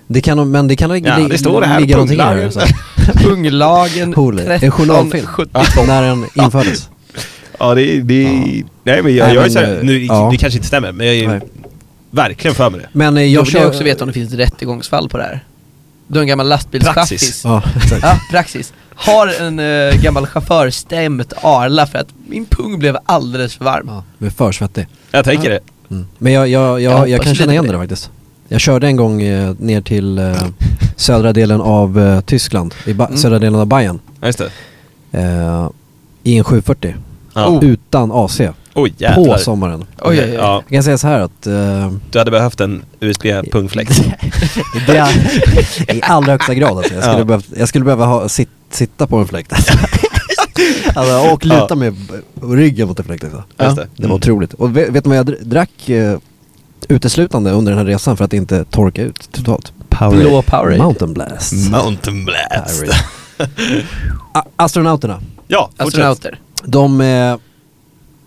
Speaker 1: det kan, nog- men det kan nog
Speaker 2: Ja,
Speaker 1: li-
Speaker 2: det står det här,
Speaker 1: ligga någonting i
Speaker 2: punglar.
Speaker 1: det. alltså.
Speaker 3: Punglagen
Speaker 1: Poli. En
Speaker 3: 13,
Speaker 1: journalfilm.
Speaker 3: 17.
Speaker 1: När den infördes.
Speaker 2: Ja det, det
Speaker 1: Ja.
Speaker 2: Nej men jag,
Speaker 1: Nej,
Speaker 2: jag är
Speaker 1: men, eh,
Speaker 2: såhär, nu,
Speaker 1: ja.
Speaker 2: det kanske inte stämmer men jag är
Speaker 1: Nej.
Speaker 2: verkligen för mig det.
Speaker 1: Men eh,
Speaker 3: Jag
Speaker 1: jag
Speaker 3: vill jag också veta om det finns rättegångsfall på det här. Du är en gammal lastbilschaffis.
Speaker 2: Praxis.
Speaker 1: Ja, exakt.
Speaker 3: Ja, praxis. Har en eh, gammal chaufför stämt Arla för att min pung blev alldeles för varm.
Speaker 1: Ja, du är för svettig.
Speaker 2: Jag tänker det.
Speaker 1: Mm. Men jag, jag,
Speaker 3: Jag
Speaker 1: jag, jag,
Speaker 3: hoppas
Speaker 1: kan
Speaker 3: lite
Speaker 1: känna igen
Speaker 3: på
Speaker 1: det där faktiskt. Jag körde en gång eh, ner till eh, södra delen av eh, Tyskland, i ba-
Speaker 3: Mm.
Speaker 1: södra delen av Bayern.
Speaker 2: Ja just det.
Speaker 1: Eh, I en 740.
Speaker 2: Ja.
Speaker 3: Oh.
Speaker 1: Utan AC.
Speaker 2: Oj
Speaker 1: På
Speaker 2: jävlar. Oh.
Speaker 1: sommaren.
Speaker 3: Oj, oj, oj.
Speaker 2: Ja,
Speaker 1: Jag kan säga så här att eh,
Speaker 2: du hade behövt en USB-pungfläkt.
Speaker 1: det är i allra högsta grad alltså. jag, skulle
Speaker 2: Ja.
Speaker 1: behövt, jag skulle behöva ha, sit, sitta på en fläkt. Alltså. Alltså, och luta
Speaker 2: Ja.
Speaker 1: med b- ryggen mot en fläkt. Alltså.
Speaker 2: Just det.
Speaker 1: det var
Speaker 2: Mm.
Speaker 1: otroligt. Och vet, vet du vad jag dr- drack eh, uteslutande under den här resan för att inte torka ut totalt?
Speaker 3: Blå Powerade.
Speaker 1: Mountain Blast.
Speaker 2: Mountain Blast.
Speaker 1: Powerade. A- astronauterna,
Speaker 2: Ja, fortsätt.
Speaker 3: Astronauter.
Speaker 1: de... Eh,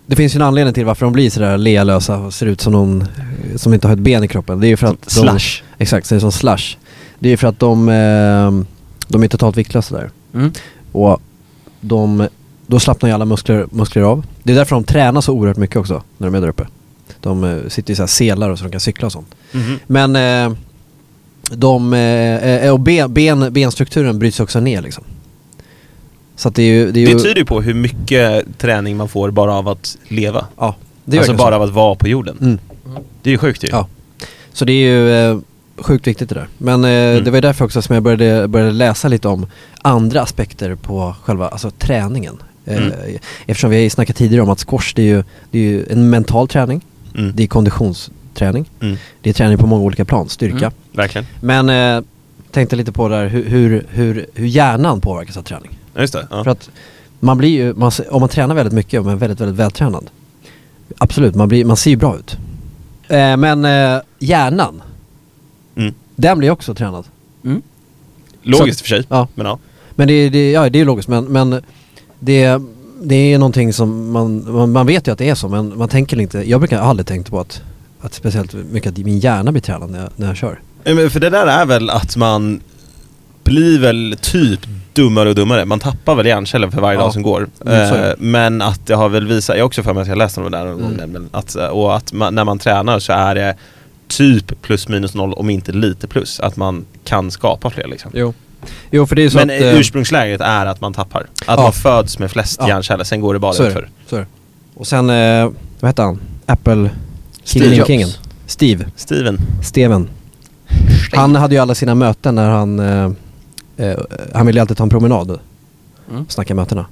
Speaker 1: det finns ju en anledning till varför de blir sådär lealösa och ser ut som någon eh, som inte har ett ben i kroppen. Det är ju för att de...
Speaker 2: Slash.
Speaker 1: Exakt, ser ut som slush. Det är ju för att de, eh, de är totalt viktlösa där.
Speaker 3: Mm.
Speaker 1: Och de, då slappnar ju alla muskler, muskler av. Det är därför de tränar så oerhört mycket också när de är där uppe. De eh, sitter i så här selar och så de kan cykla och sånt.
Speaker 2: Mhm.
Speaker 1: Men eh, de, eh, eh, och ben, ben, benstrukturen bryts också ner liksom. Så att det är ju... Det, är ju,
Speaker 2: Det tyder ju på hur mycket träning man får bara av att leva.
Speaker 1: Ja, det gör
Speaker 2: alltså
Speaker 1: det
Speaker 2: bara av att vara på jorden.
Speaker 1: Mm.
Speaker 2: Det är ju sjukt ju.
Speaker 1: Ja. Så det är ju eh, sjukt viktigt det där. Men eh,
Speaker 2: Mm.
Speaker 1: det var ju därför också som jag började, började läsa lite om andra aspekter på själva alltså, träningen. Eh,
Speaker 2: Mm.
Speaker 1: Eftersom vi har ju snackat tidigare om att squash det är ju, det är ju en mental träning,
Speaker 2: Mm.
Speaker 1: det är konditionsträning,
Speaker 2: Mm.
Speaker 1: det är träning på många olika plan, styrka.
Speaker 3: Mm.
Speaker 2: Verkligen.
Speaker 1: Men eh, tänkte lite på det där hur, hur, hur, hur hjärnan påverkas av träning.
Speaker 2: Ja, just det. Ja.
Speaker 1: För att man blir ju, man, se- om man tränar väldigt mycket och man är väldigt, väldigt vältränad. Absolut, man, blir, man ser ju bra ut. Eh, men eh, hjärnan,
Speaker 2: Mm.
Speaker 1: den blir också tränad.
Speaker 3: Mm.
Speaker 2: Logiskt i och för sig.
Speaker 1: Ja.
Speaker 2: Men ja.
Speaker 1: Men det, är- det, ja, det är logiskt, men, men det, det är någonting som man, man, man vet ju att det är så, men man tänker inte, jag brukar aldrig tänkt på att, att speciellt mycket att min hjärna blir tränad när jag, när jag kör.
Speaker 2: Ja, Mm, Men för det där är väl att man blir väl typ dummare och dummare. Man tappar väl hjärnceller för varje
Speaker 1: Ja.
Speaker 2: dag som går.
Speaker 1: Mm, så är det.
Speaker 2: Eh, men att det har väl visat, jag har också för mig att jag läste om det där någon gång,
Speaker 1: Mm.
Speaker 2: men att, eh, och att man, när man tränar så är det typ plus minus noll om inte lite plus. Att man kan skapa fler liksom.
Speaker 1: Jo. Jo, för det är ju så
Speaker 2: Men
Speaker 1: att...
Speaker 2: eh,
Speaker 1: eh,
Speaker 2: ursprungsläget är att man tappar. Att
Speaker 1: Ja.
Speaker 2: man föds med flest
Speaker 1: Ja.
Speaker 2: hjärnceller, sen går det bara
Speaker 1: så är
Speaker 2: utför.
Speaker 1: det. Så är det. Och sen, eh, vad hette han? Apple...
Speaker 3: Steve
Speaker 1: Killen,
Speaker 3: Jobs.
Speaker 1: kingen. Steve.
Speaker 2: Steven.
Speaker 1: Steven. Han hade ju alla sina möten när han... Eh, eh, han ville ju alltid ta en promenad
Speaker 3: Mm.
Speaker 1: och snacka mötena.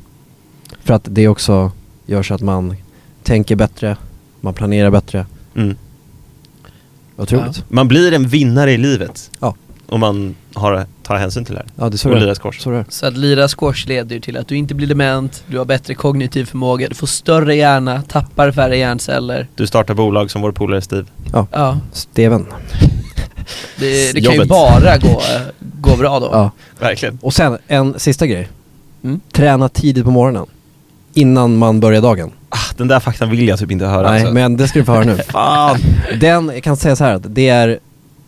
Speaker 1: För att det också gör så att man tänker bättre, man planerar bättre.
Speaker 2: Mm.
Speaker 1: Otroligt.
Speaker 2: Man blir en vinnare i livet
Speaker 1: Ja,
Speaker 2: om man har, tar hänsyn till det här.
Speaker 1: ja. det är så
Speaker 2: Och
Speaker 1: det
Speaker 2: lirar
Speaker 1: är.
Speaker 2: squash.
Speaker 1: Så det är.
Speaker 3: Så att lira squash leder ju till att du inte blir dement, du har bättre kognitiv förmåga, du får större hjärna, tappar färre hjärnceller.
Speaker 2: Du startar bolag som vår polare Steve.
Speaker 3: Ja,
Speaker 1: Steven.
Speaker 3: det, det kan ju
Speaker 2: Jobbet.
Speaker 3: bara gå, gå bra då.
Speaker 1: Ja.
Speaker 2: Verkligen.
Speaker 1: Och sen en sista grej.
Speaker 3: Mm.
Speaker 1: Träna tidigt på morgonen. Innan man börjar dagen.
Speaker 2: Ah, den där faktan vill jag typ inte höra.
Speaker 1: Nej,
Speaker 2: alltså.
Speaker 1: men det ska du få höra nu.
Speaker 2: Fan.
Speaker 1: Den, jag kan säga så här att det är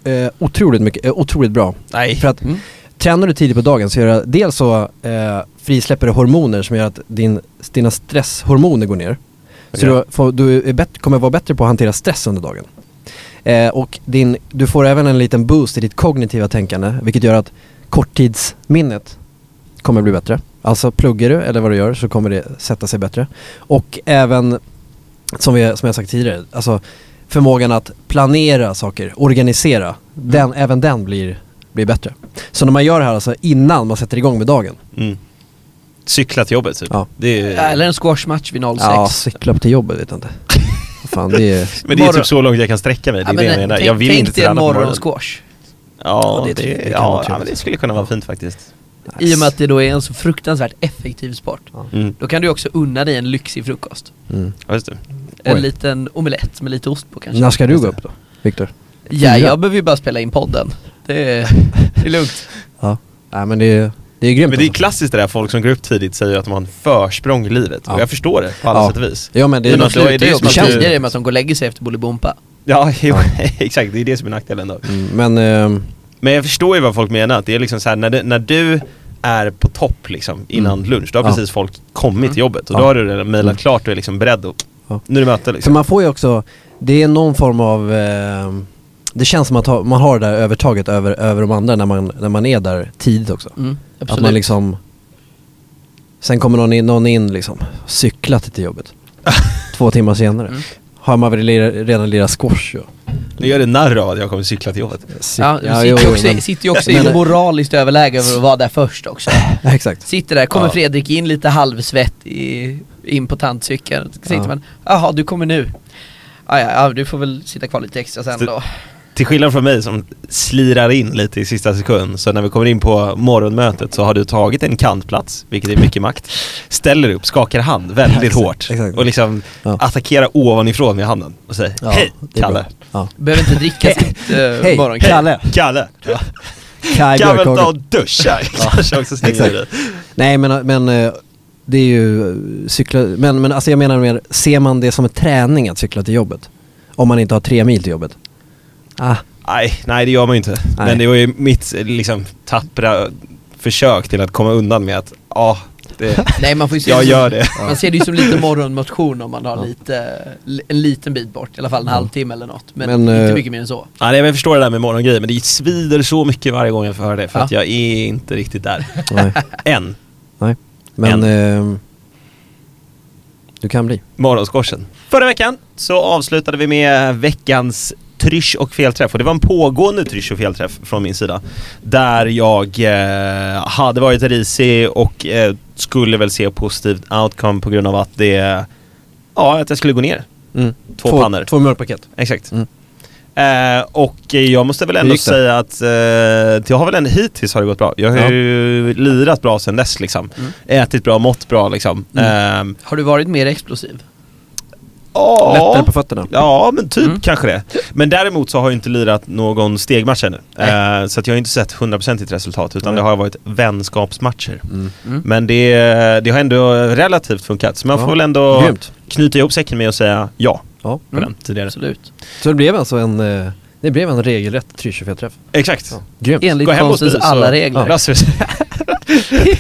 Speaker 1: eh, otroligt mycket, eh, otroligt bra.
Speaker 2: Nej.
Speaker 1: För att
Speaker 3: Mm.
Speaker 1: tränar du tidigt på dagen så gör det, dels så eh, frisläpper du hormoner som gör att din, dina stresshormoner går ner. Så
Speaker 2: Okej.
Speaker 1: du, får, du är bett, kommer vara bättre på att hantera stress under dagen. Eh, och din, du får även en liten boost i ditt kognitiva tänkande vilket gör att korttidsminnet kommer bli bättre. Alltså pluggar du eller vad du gör så kommer det sätta sig bättre. Och även, som, vi, som jag sagt tidigare, alltså förmågan att planera saker, organisera, den, även den blir, blir bättre. Så när man gör det här alltså innan man sätter igång med dagen
Speaker 2: Mm. Cykla till jobbet typ.
Speaker 1: Ja.
Speaker 2: Det är,
Speaker 3: Eller en squashmatch vid 06.
Speaker 1: Ja, cykla upp till jobbet vet jag inte. Vad Fan, det är...
Speaker 2: men det är
Speaker 3: morgon-
Speaker 2: typ så långt jag kan sträcka mig, det är det jag menar.
Speaker 3: tänk,
Speaker 2: jag vill
Speaker 3: tänk
Speaker 2: inte
Speaker 3: dig en
Speaker 2: träna på morgonen.
Speaker 3: morgonsquash.
Speaker 2: Ja,
Speaker 1: Ja, det
Speaker 2: det,
Speaker 1: tycker jag. Det kan vara
Speaker 2: ja, ja,
Speaker 1: trevligt.
Speaker 2: men det skulle kunna vara fint faktiskt.
Speaker 3: I och med att det då är en så fruktansvärt effektiv sport.
Speaker 2: Mm.
Speaker 3: Då kan du också unna dig en lyxig frukost.
Speaker 1: Mm.
Speaker 2: Ja, just det.
Speaker 3: En
Speaker 1: Oj.
Speaker 3: liten omelett med lite ost på kanske.
Speaker 1: När ska du gå upp då? Viktor?
Speaker 3: Ja,
Speaker 1: Fyra.
Speaker 3: jag behöver ju bara spela in podden. Det är, det är lugnt.
Speaker 1: Ja. Nej men det är, det är grymt
Speaker 2: Men det är
Speaker 1: alltså.
Speaker 2: klassiskt det där folk som går upp tidigt säger att de har en försprång i livet.
Speaker 1: Ja.
Speaker 2: Och jag förstår det på alla
Speaker 1: Ja.
Speaker 2: sätt och vis.
Speaker 1: Ja men det är...
Speaker 2: Men
Speaker 3: Men de
Speaker 2: då är det
Speaker 3: slutar
Speaker 2: ju
Speaker 3: ju
Speaker 2: som
Speaker 3: också
Speaker 1: att du-
Speaker 3: tidigare med att de går och lägger sig efter Bolibompa.
Speaker 2: Ja, jo, exakt. Det är det som är nackdelen då.
Speaker 1: Mm, men... ehm,
Speaker 2: Men jag förstår ju vad folk menar. Att det är liksom så här, när, det, när du är på topp liksom, innan
Speaker 1: Mm.
Speaker 2: lunch, då har
Speaker 1: Ja. Mm.
Speaker 2: precis folk kommit till jobbet. Och
Speaker 1: Ja.
Speaker 2: då har du redan mejlat
Speaker 1: Mm.
Speaker 2: klart och är liksom beredd. Och,
Speaker 1: Ja.
Speaker 2: Nu är det möte
Speaker 1: För
Speaker 2: liksom.
Speaker 1: man får ju också, det är någon form av, ehm, det känns som att ha, man har det där övertaget över, över de andra när man, när man är där tidigt också.
Speaker 3: Mm,
Speaker 1: Att
Speaker 3: absolut.
Speaker 1: man liksom, sen kommer någon in, någon in liksom, cyklat till jobbet. Två timmar senare.
Speaker 3: Mm.
Speaker 1: Har man väl lira, redan lirat squash och
Speaker 2: Nu gör det narr av att jag kommer cykla till jobbet.
Speaker 1: cyk-
Speaker 3: Ja, du sitter,
Speaker 1: jo, jo,
Speaker 3: också,
Speaker 1: men-
Speaker 3: sitter ju också i
Speaker 1: men-
Speaker 3: ett moraliskt överläge över att vara där först också.
Speaker 1: Ja, Exakt.
Speaker 3: Sitter där, kommer
Speaker 2: Ja.
Speaker 3: Fredrik in lite halvsvett i, in på tandcykeln. Så sitter
Speaker 1: Ja.
Speaker 3: man, jaha du kommer nu. Ah, ja, ja, du får väl sitta kvar lite extra sen
Speaker 2: Så-
Speaker 3: då.
Speaker 2: Till skillnad från mig som slirar in lite i sista sekund, så när vi kommer in på morgonmötet så har du tagit en kantplats, vilket är mycket makt, ställer upp, skakar hand väldigt
Speaker 1: Exakt,
Speaker 2: hårt
Speaker 1: exakt.
Speaker 2: och liksom
Speaker 1: Ja.
Speaker 2: attackerar ovanifrån med handen och säger
Speaker 1: Ja,
Speaker 2: Hej
Speaker 1: det är bra.
Speaker 2: Kalle!
Speaker 1: Ja.
Speaker 3: Behöver inte dricka sitt
Speaker 1: Hej,
Speaker 3: uh,
Speaker 1: Kalle.
Speaker 3: morgonkaffe.
Speaker 2: Kalle! Ja.
Speaker 1: Kaj
Speaker 2: Kan väl
Speaker 1: Björkhagen.
Speaker 2: ta och duscha? Kanske också slänger
Speaker 1: Exakt.
Speaker 2: i det.
Speaker 1: Nej men, men eh, det är ju eh, cykla, men, men alltså jag menar mer, ser man det som en träning att cykla till jobbet? Om man inte har tre mil till jobbet? Ah,
Speaker 2: Nej, nej det gör man ju inte.
Speaker 1: Nej.
Speaker 2: Men det var ju mitt eh, liksom, tappra försök till att komma undan med att ja, det,
Speaker 3: Nej man får ju se
Speaker 2: jag
Speaker 3: det som,
Speaker 2: gör det.
Speaker 3: Man ser det ju som lite morgonmotion om man har
Speaker 1: Ja.
Speaker 3: lite, li- en liten bit bort, i alla fall en
Speaker 1: Ja.
Speaker 3: halvtimme eller något. Men,
Speaker 1: Men, eh,
Speaker 3: inte mycket mer än så.
Speaker 2: Ja, nej, men jag förstår det där med morgongrejer, men det svider så mycket varje gång jag får höra det för
Speaker 3: Ja.
Speaker 2: att jag är inte riktigt där.
Speaker 1: nej.
Speaker 2: Än.
Speaker 1: Nej, men ehm, du kan bli.
Speaker 2: Morgonskorsen. Förra veckan så avslutade vi med veckans trysch och felträff och det var en pågående trysch och felträff från min sida. Där jag eh, hade varit risig och eh, skulle väl se positivt outcome på grund av att det, ja att jag skulle gå ner. Mm, Två pannor.
Speaker 1: Två mjölkpaket.
Speaker 2: Exakt.
Speaker 1: Mm.
Speaker 2: Eh, och eh, jag måste väl
Speaker 1: Hur
Speaker 2: ändå
Speaker 1: gick det?
Speaker 2: säga att eh, jag har väl ändå hittills har det gått bra. Jag har
Speaker 1: Ja.
Speaker 2: ju lirat bra sen dess liksom.
Speaker 3: Mm.
Speaker 2: Ätit bra, mått bra liksom.
Speaker 1: Mm.
Speaker 2: Eh,
Speaker 3: Har du varit mer explosiv?
Speaker 2: ja.
Speaker 1: Lättare på fötterna.
Speaker 2: Ja, men typ
Speaker 3: Mm.
Speaker 2: kanske det. Men däremot så har jag inte lirat någon stegmatch ännu. Eh, så att jag har inte sett 100% resultat utan
Speaker 1: Nej.
Speaker 2: det har varit vänskapsmatcher.
Speaker 1: Mm.
Speaker 2: Men det, det har ändå relativt funkat. Så man
Speaker 1: Ja.
Speaker 2: får väl ändå
Speaker 1: Grymt. Mm.
Speaker 2: knyta ihop säcken med att säga ja
Speaker 1: Ja.
Speaker 2: på den tidigare.
Speaker 3: Absolut.
Speaker 1: Så det blev alltså en, eh, det blev en regelrätt 325 träff
Speaker 2: Exakt.
Speaker 1: ja. Grymt.
Speaker 3: Enligt
Speaker 2: hem hos
Speaker 3: konstens
Speaker 2: dig, så
Speaker 3: alla regler.
Speaker 2: löser det sig.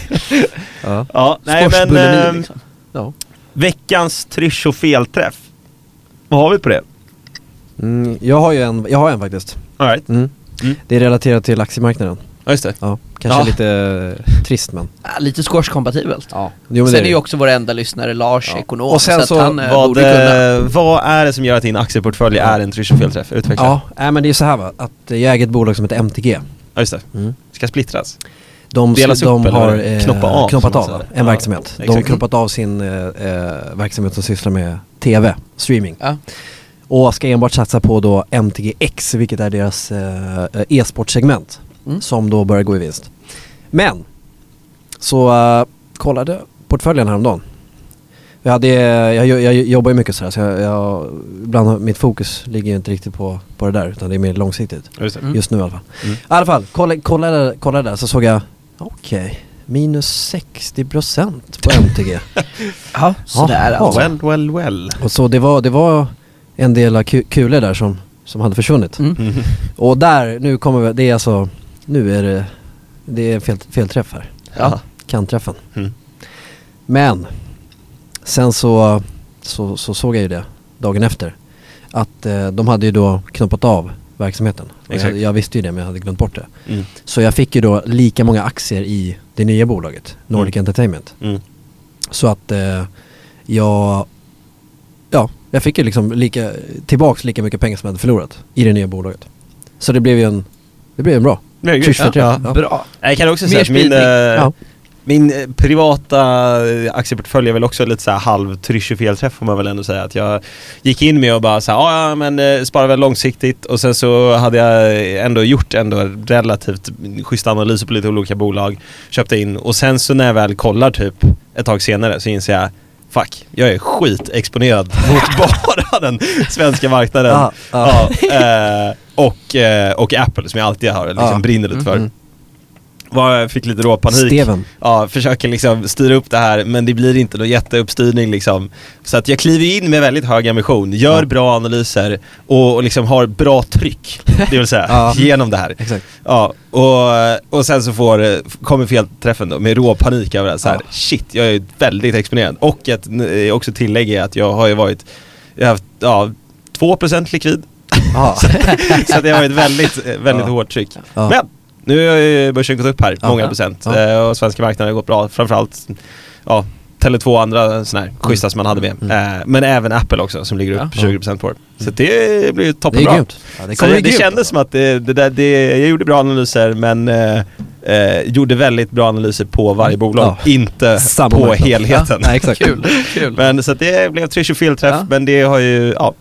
Speaker 1: Ja.
Speaker 2: Ja, nej men
Speaker 3: Sportsbulimi,
Speaker 2: eh,
Speaker 3: liksom.
Speaker 1: Ja.
Speaker 2: veckans trysch och felträff. Vad har vi på det?
Speaker 1: Mm, jag har ju en, jag har en faktiskt.
Speaker 2: All right.
Speaker 1: Mm.
Speaker 2: Mm.
Speaker 1: Det är relaterat till aktiemarknaden.
Speaker 2: Ja, just det.
Speaker 1: Ja, kanske
Speaker 2: Ja.
Speaker 1: lite eh, trist men.
Speaker 3: Ah, Lite squashkompatibelt.
Speaker 1: Ja. Jo, men
Speaker 3: Sen är
Speaker 1: det.
Speaker 3: ju också vår enda lyssnare Lars,
Speaker 1: Ja.
Speaker 3: ekonom,
Speaker 1: Och sen
Speaker 3: så,
Speaker 1: så
Speaker 3: att han eh,
Speaker 2: Vad,
Speaker 3: borde kunna.
Speaker 2: eh, vad är det som gör att din aktieportfölj är en trysch och felträff? Utveckla.
Speaker 1: Ja, nej, men det är så här va, att eh, jag äger ett bolag som heter MTG.
Speaker 2: Ja, just det.
Speaker 1: Mm.
Speaker 2: Ska splittras.
Speaker 1: De,
Speaker 2: Delas
Speaker 1: de
Speaker 2: upp, eller
Speaker 1: har eh,
Speaker 2: vad det är? Knoppa av,
Speaker 1: knoppat
Speaker 2: som
Speaker 1: av
Speaker 2: man säger.
Speaker 1: en
Speaker 2: Ja,
Speaker 1: verksamhet. De har
Speaker 2: exakt.
Speaker 1: knoppat av sin eh, eh, verksamhet som sysslar med TV, streaming.
Speaker 3: Ja.
Speaker 1: Och ska enbart satsa på då MTGX, vilket är deras eh, e-sportsegment.
Speaker 3: Mm.
Speaker 1: Som då börjar gå i vinst. Men, så eh, kollade portföljen häromdagen. Jag, hade, eh, jag, jag, jag jobbar ju mycket sådär så jag, jag, ibland mitt fokus ligger ju inte riktigt på, på det där utan det är mer långsiktigt.
Speaker 2: Ja, just det.
Speaker 3: Mm.
Speaker 1: Just nu i alla fall.
Speaker 2: Mm.
Speaker 1: I alla fall, kolla, kolla, där, kolla där så såg jag, okej, minus 60% på MTG.
Speaker 3: Ja, sådär
Speaker 1: Ja.
Speaker 3: alltså.
Speaker 2: Well, well, well.
Speaker 1: Och så det var, det var en del av ku- kulor där som, som hade försvunnit.
Speaker 3: Mm.
Speaker 1: Och där, nu kommer vi, det är alltså, nu är det, det är fel, felträff här.
Speaker 2: Ja.
Speaker 1: Kantträffen.
Speaker 2: Mm.
Speaker 1: Men, sen så, så, så såg jag ju det dagen efter. Att eh, de hade ju då knoppat av verksamheten. Och Jag,
Speaker 2: Exakt.
Speaker 1: jag visste ju det men jag hade glömt bort det.
Speaker 2: Mm.
Speaker 1: Så jag fick ju då lika många aktier i det nya bolaget, Nordic
Speaker 2: Mm.
Speaker 1: Entertainment.
Speaker 2: Mm.
Speaker 1: Så att eh, jag, ja, jag fick ju liksom lika, tillbaks lika mycket pengar som jag hade förlorat i det nya bolaget. Så det blev ju en, det blev en bra.
Speaker 2: Ja,
Speaker 1: Trysch för
Speaker 2: ja.
Speaker 1: träff. Ja.
Speaker 3: Bra.
Speaker 2: Jag kan också
Speaker 3: Mer
Speaker 2: säga att min, eh,
Speaker 3: spridning.
Speaker 1: Ja.
Speaker 2: Min eh, privata eh, aktieportfölj är väl också lite så här halv trysch och felträff får man väl ändå säga. Att jag gick in med och bara så här, "Ah, ja men eh, spara väl långsiktigt och sen så hade jag ändå gjort ändå relativt schyssta analyser på lite olika bolag. Köpte in och sen så när jag väl kollar typ ett tag senare så inser jag Fuck, jag är skitexponerad mot bara den svenska marknaden.
Speaker 1: Ja, ja.
Speaker 2: Ja, eh, och, eh, och Apple som jag alltid har liksom
Speaker 1: Ja.
Speaker 2: brinner lite för.
Speaker 1: Mhm.
Speaker 2: Var, fick lite råpanik.
Speaker 1: Steven.
Speaker 2: Ja, försöker liksom styra upp det här men det blir inte någon jätteuppstyrning liksom. Så att jag kliver in med väldigt hög ambition, gör
Speaker 1: Ja.
Speaker 2: bra analyser och, och liksom har bra tryck, det vill säga,
Speaker 1: Ja.
Speaker 2: genom det här.
Speaker 1: Exakt.
Speaker 2: Ja, och, och sen så får, eh, kommer felträffen då med råpanik över det här. Så här
Speaker 1: Ja.
Speaker 2: Shit, jag är väldigt exponerad. Och ett eh, också tillägg är att jag har ju varit, jag har haft, ja, 2% likvid.
Speaker 1: Ja.
Speaker 2: så att det har varit väldigt, eh, väldigt
Speaker 1: Ja.
Speaker 2: hårt tryck.
Speaker 1: Ja.
Speaker 2: Men nu har ju börsen gått upp här,
Speaker 1: Ja.
Speaker 2: många
Speaker 1: Ja.
Speaker 2: procent.
Speaker 1: Ja.
Speaker 2: Eh, Och svenska marknaden har gått bra, framförallt ja, Tele2 och andra sådana här schyssta som man hade med. Eh, Men även Apple också som ligger upp
Speaker 1: Mm. Ja. Mm.
Speaker 2: 20% på år. Så det blir ju
Speaker 1: Det
Speaker 2: toppenbra.
Speaker 1: är grymt. Ja,
Speaker 2: Så
Speaker 1: kommer
Speaker 2: det,
Speaker 1: bli
Speaker 2: det
Speaker 1: grymt.
Speaker 2: kändes som att det, det där, det, jag gjorde bra analyser men eh, eh, gjorde väldigt bra analyser på varje bolag,
Speaker 1: Ja.
Speaker 2: inte
Speaker 1: Samma
Speaker 2: eh, på
Speaker 1: marknad.
Speaker 2: helheten.
Speaker 1: Ja, nej, exakt.
Speaker 3: Kul, kul.
Speaker 2: Men så att det blev trysch och felträff
Speaker 3: Ja.
Speaker 2: men det har ju ja,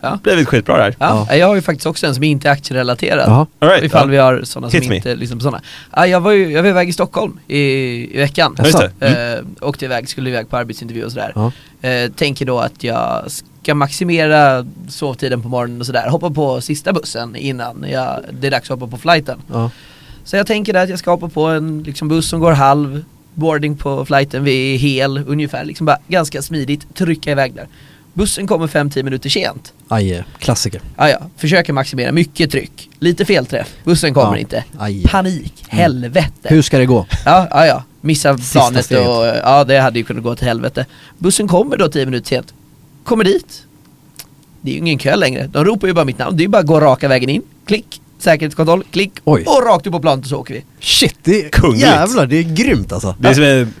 Speaker 3: Ja.
Speaker 2: blivit skitbra där.
Speaker 3: Ja, Jag har ju faktiskt också en som inte är aktierelaterad.
Speaker 1: Jaha.
Speaker 2: All right,
Speaker 3: ifall
Speaker 2: ja.
Speaker 3: vi har sådana som
Speaker 2: Hit me.
Speaker 3: inte liksom sådana. Ja, jag, var ju, jag var iväg i Stockholm i, i veckan.
Speaker 2: Ja, just det. Mm.
Speaker 3: Eh, åkte iväg, skulle iväg på arbetsintervju och sådär.
Speaker 1: Ja.
Speaker 3: Eh, tänker då att jag ska maximera sovtiden på morgonen och sådär. Hoppa på sista bussen innan jag, det är dags att hoppa på flighten.
Speaker 1: Ja.
Speaker 3: Så jag tänker där att jag ska hoppa på en liksom, buss som går halv, boarding på flighten vid hel ungefär. Liksom bara ganska smidigt, trycka iväg där. Bussen kommer 5-10 minuter sent.
Speaker 1: Aj, eh, klassiker.
Speaker 3: Ah, ja, försöker maximera, mycket tryck. Lite felträff, bussen kommer
Speaker 1: Ja.
Speaker 3: inte.
Speaker 1: Aj.
Speaker 3: Panik,
Speaker 1: Mm.
Speaker 3: helvete.
Speaker 1: Hur ska det gå?
Speaker 3: Ja, ja, ja. Missa
Speaker 1: Sista
Speaker 3: planet
Speaker 1: steget.
Speaker 3: och ja, det hade ju kunnat gå till helvete. Bussen kommer då 10 minuter sent. Kommer dit. Det är ju ingen kö längre. De ropar ju bara mitt namn. Det är ju bara att gå raka vägen in. Klick, säkerhetskontroll, klick
Speaker 1: Oj.
Speaker 3: och rakt upp på planet och så åker vi.
Speaker 1: Shit, det är
Speaker 2: Kungligt.
Speaker 1: jävlar, det är grymt alltså.
Speaker 2: Det är som en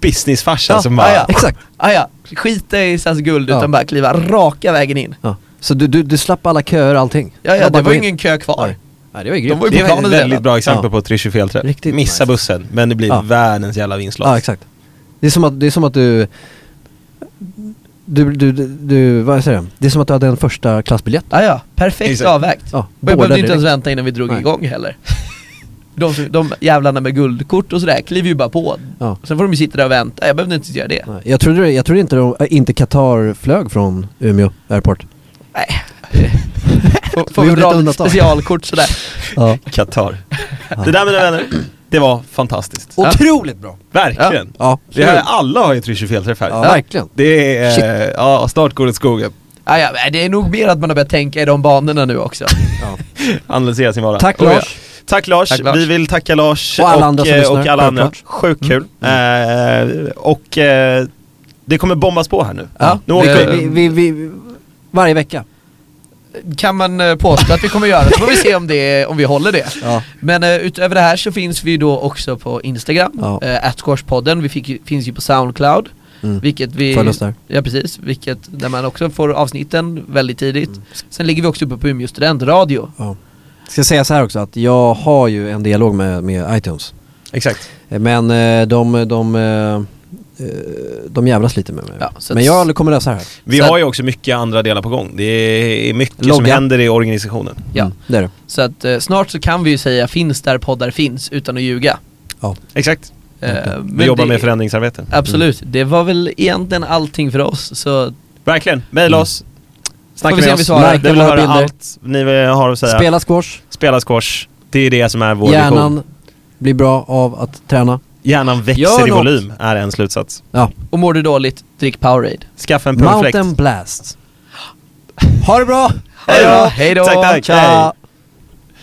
Speaker 2: businessfarsa
Speaker 1: Ja,
Speaker 2: som bara...
Speaker 3: ja, ja.
Speaker 1: Exakt.
Speaker 3: Ah, ja, skita i SAS guld
Speaker 1: Ja.
Speaker 3: utan bara kliva raka vägen in.
Speaker 1: Ja. Så du, du, du slapp alla köer och allting?
Speaker 3: Ja, ja,
Speaker 1: Jag bara
Speaker 3: det var
Speaker 1: går
Speaker 3: ju
Speaker 1: in.
Speaker 3: ingen kö kvar.
Speaker 1: Nej. Nej, det var ju
Speaker 3: De
Speaker 1: grymt.
Speaker 3: var ju
Speaker 2: Det
Speaker 3: på
Speaker 2: är
Speaker 3: planen
Speaker 2: ett
Speaker 3: redan.
Speaker 2: väldigt bra exempel
Speaker 1: Ja.
Speaker 2: på trysch och felträff.
Speaker 1: Riktigt
Speaker 2: Missa
Speaker 1: nice.
Speaker 2: bussen, men det blir
Speaker 1: Ja.
Speaker 2: världens jävla vinstlott.
Speaker 1: Ja, exakt. Det är som att, det är som att du, du, du, du, du, vad säger jag? Det är som att du hade en första klassbiljett.
Speaker 3: Ah, ja, perfekt
Speaker 2: Exakt.
Speaker 3: avvägt.
Speaker 1: Ja,
Speaker 3: Och
Speaker 1: båda
Speaker 3: jag behövde inte ens
Speaker 1: direkt.
Speaker 3: vänta innan vi drog
Speaker 1: Nej.
Speaker 3: igång heller. De, som- de jävlarna med guldkort och sådär kliver ju bara på.
Speaker 1: Ja.
Speaker 3: Sen får de ju sitta där och vänta, jag behövde inte göra det.
Speaker 1: Nej, Jag trodde, det- jag trodde inte, de, äh, inte Qatar flög från Umeå airport.
Speaker 3: Nej. Får-
Speaker 1: Vi
Speaker 3: Får vi
Speaker 1: gjorde ett
Speaker 3: dra ett
Speaker 1: undantag.
Speaker 3: specialkort sådär.
Speaker 1: Ja.
Speaker 2: Qatar. Det där mina vänner, det var fantastiskt.
Speaker 1: Otroligt bra!
Speaker 2: Verkligen.
Speaker 1: Ja,
Speaker 2: Det här, alla har ju trysch och felträff här.
Speaker 1: ja, verkligen.
Speaker 2: Det är, eh, ja snart går det åt skogen.
Speaker 3: Ah, ja, men det är nog mer att man har börjat tänka i de banorna nu också.
Speaker 1: Ja.
Speaker 2: Analysera sin vardag.
Speaker 1: Tack
Speaker 2: Oh, ja.
Speaker 1: Lars!
Speaker 2: Tack Lars.
Speaker 3: Tack, Lars.
Speaker 2: Vi vill tacka Lars
Speaker 1: Och alla andra som
Speaker 2: eh,
Speaker 1: lyssnar,
Speaker 2: och alla andra.
Speaker 1: självklart. Mm.
Speaker 2: Sjukt kul. Eh, och eh, det kommer bombas på här nu.
Speaker 3: Ja,
Speaker 2: nu
Speaker 3: det-
Speaker 2: åker vi.
Speaker 1: Vi, vi, vi, vi, varje vecka.
Speaker 3: Kan man eh, påstå att vi kommer göra det, så får vi se om, det, om vi håller det.
Speaker 1: Ja.
Speaker 3: Men eh, utöver det här så finns vi då också på Instagram,
Speaker 1: Ja.
Speaker 3: eh, @squashpodden. Vi fick, ju- finns ju på Soundcloud,
Speaker 1: Mm.
Speaker 3: vilket vi...
Speaker 1: Följ oss där.
Speaker 3: Ja precis, vilket, där man också får avsnitten väldigt tidigt.
Speaker 1: Mm.
Speaker 3: Sen ligger vi också uppe på Umeå studentradio.
Speaker 1: Ja. Ska säga så här också att jag har ju en dialog med, med iTunes.
Speaker 2: Exakt.
Speaker 1: Eh, Men eh, de, de, eh, eh, de jävlas lite med mig.
Speaker 3: Ja, så att-
Speaker 1: Men jag kommer lösa det här.
Speaker 2: Vi
Speaker 3: Så-
Speaker 2: har ju också mycket andra delar på gång. Det är mycket som
Speaker 1: Logga.
Speaker 2: händer i organisationen.
Speaker 3: Ja.
Speaker 1: Mm, det är det.
Speaker 3: Så att eh, snart så kan vi ju säga finns där poddar finns utan att ljuga.
Speaker 1: Ja.
Speaker 2: Exakt.
Speaker 3: Eh,
Speaker 2: Vi
Speaker 3: men
Speaker 2: jobbar
Speaker 3: det-
Speaker 2: med förändringsarbete.
Speaker 1: Mm.
Speaker 3: Absolut, det var väl egentligen allting för oss. Så
Speaker 2: Verkligen. Mejla oss. Snacka
Speaker 3: Får vi se
Speaker 2: med
Speaker 3: om
Speaker 2: oss.
Speaker 3: vi svarar.
Speaker 2: Vi vill
Speaker 1: Likea våra
Speaker 2: höra
Speaker 1: bilder.
Speaker 2: allt ni har att säga. Spela,
Speaker 1: Spela squash,
Speaker 2: squash. Det är det som är vår
Speaker 1: hjärnan
Speaker 2: vision.
Speaker 1: blir bra av att träna.
Speaker 2: Hjärnan
Speaker 3: Gör
Speaker 2: växer i
Speaker 3: något.
Speaker 2: volym, är en slutsats.
Speaker 1: Ja.
Speaker 3: och mår du dåligt, drick Powerade.
Speaker 2: Skaffa en provfläkt.
Speaker 1: Mountain blast. Ha det bra!
Speaker 3: Hej då! Hej då!
Speaker 2: Tack, tack.
Speaker 1: Ciao.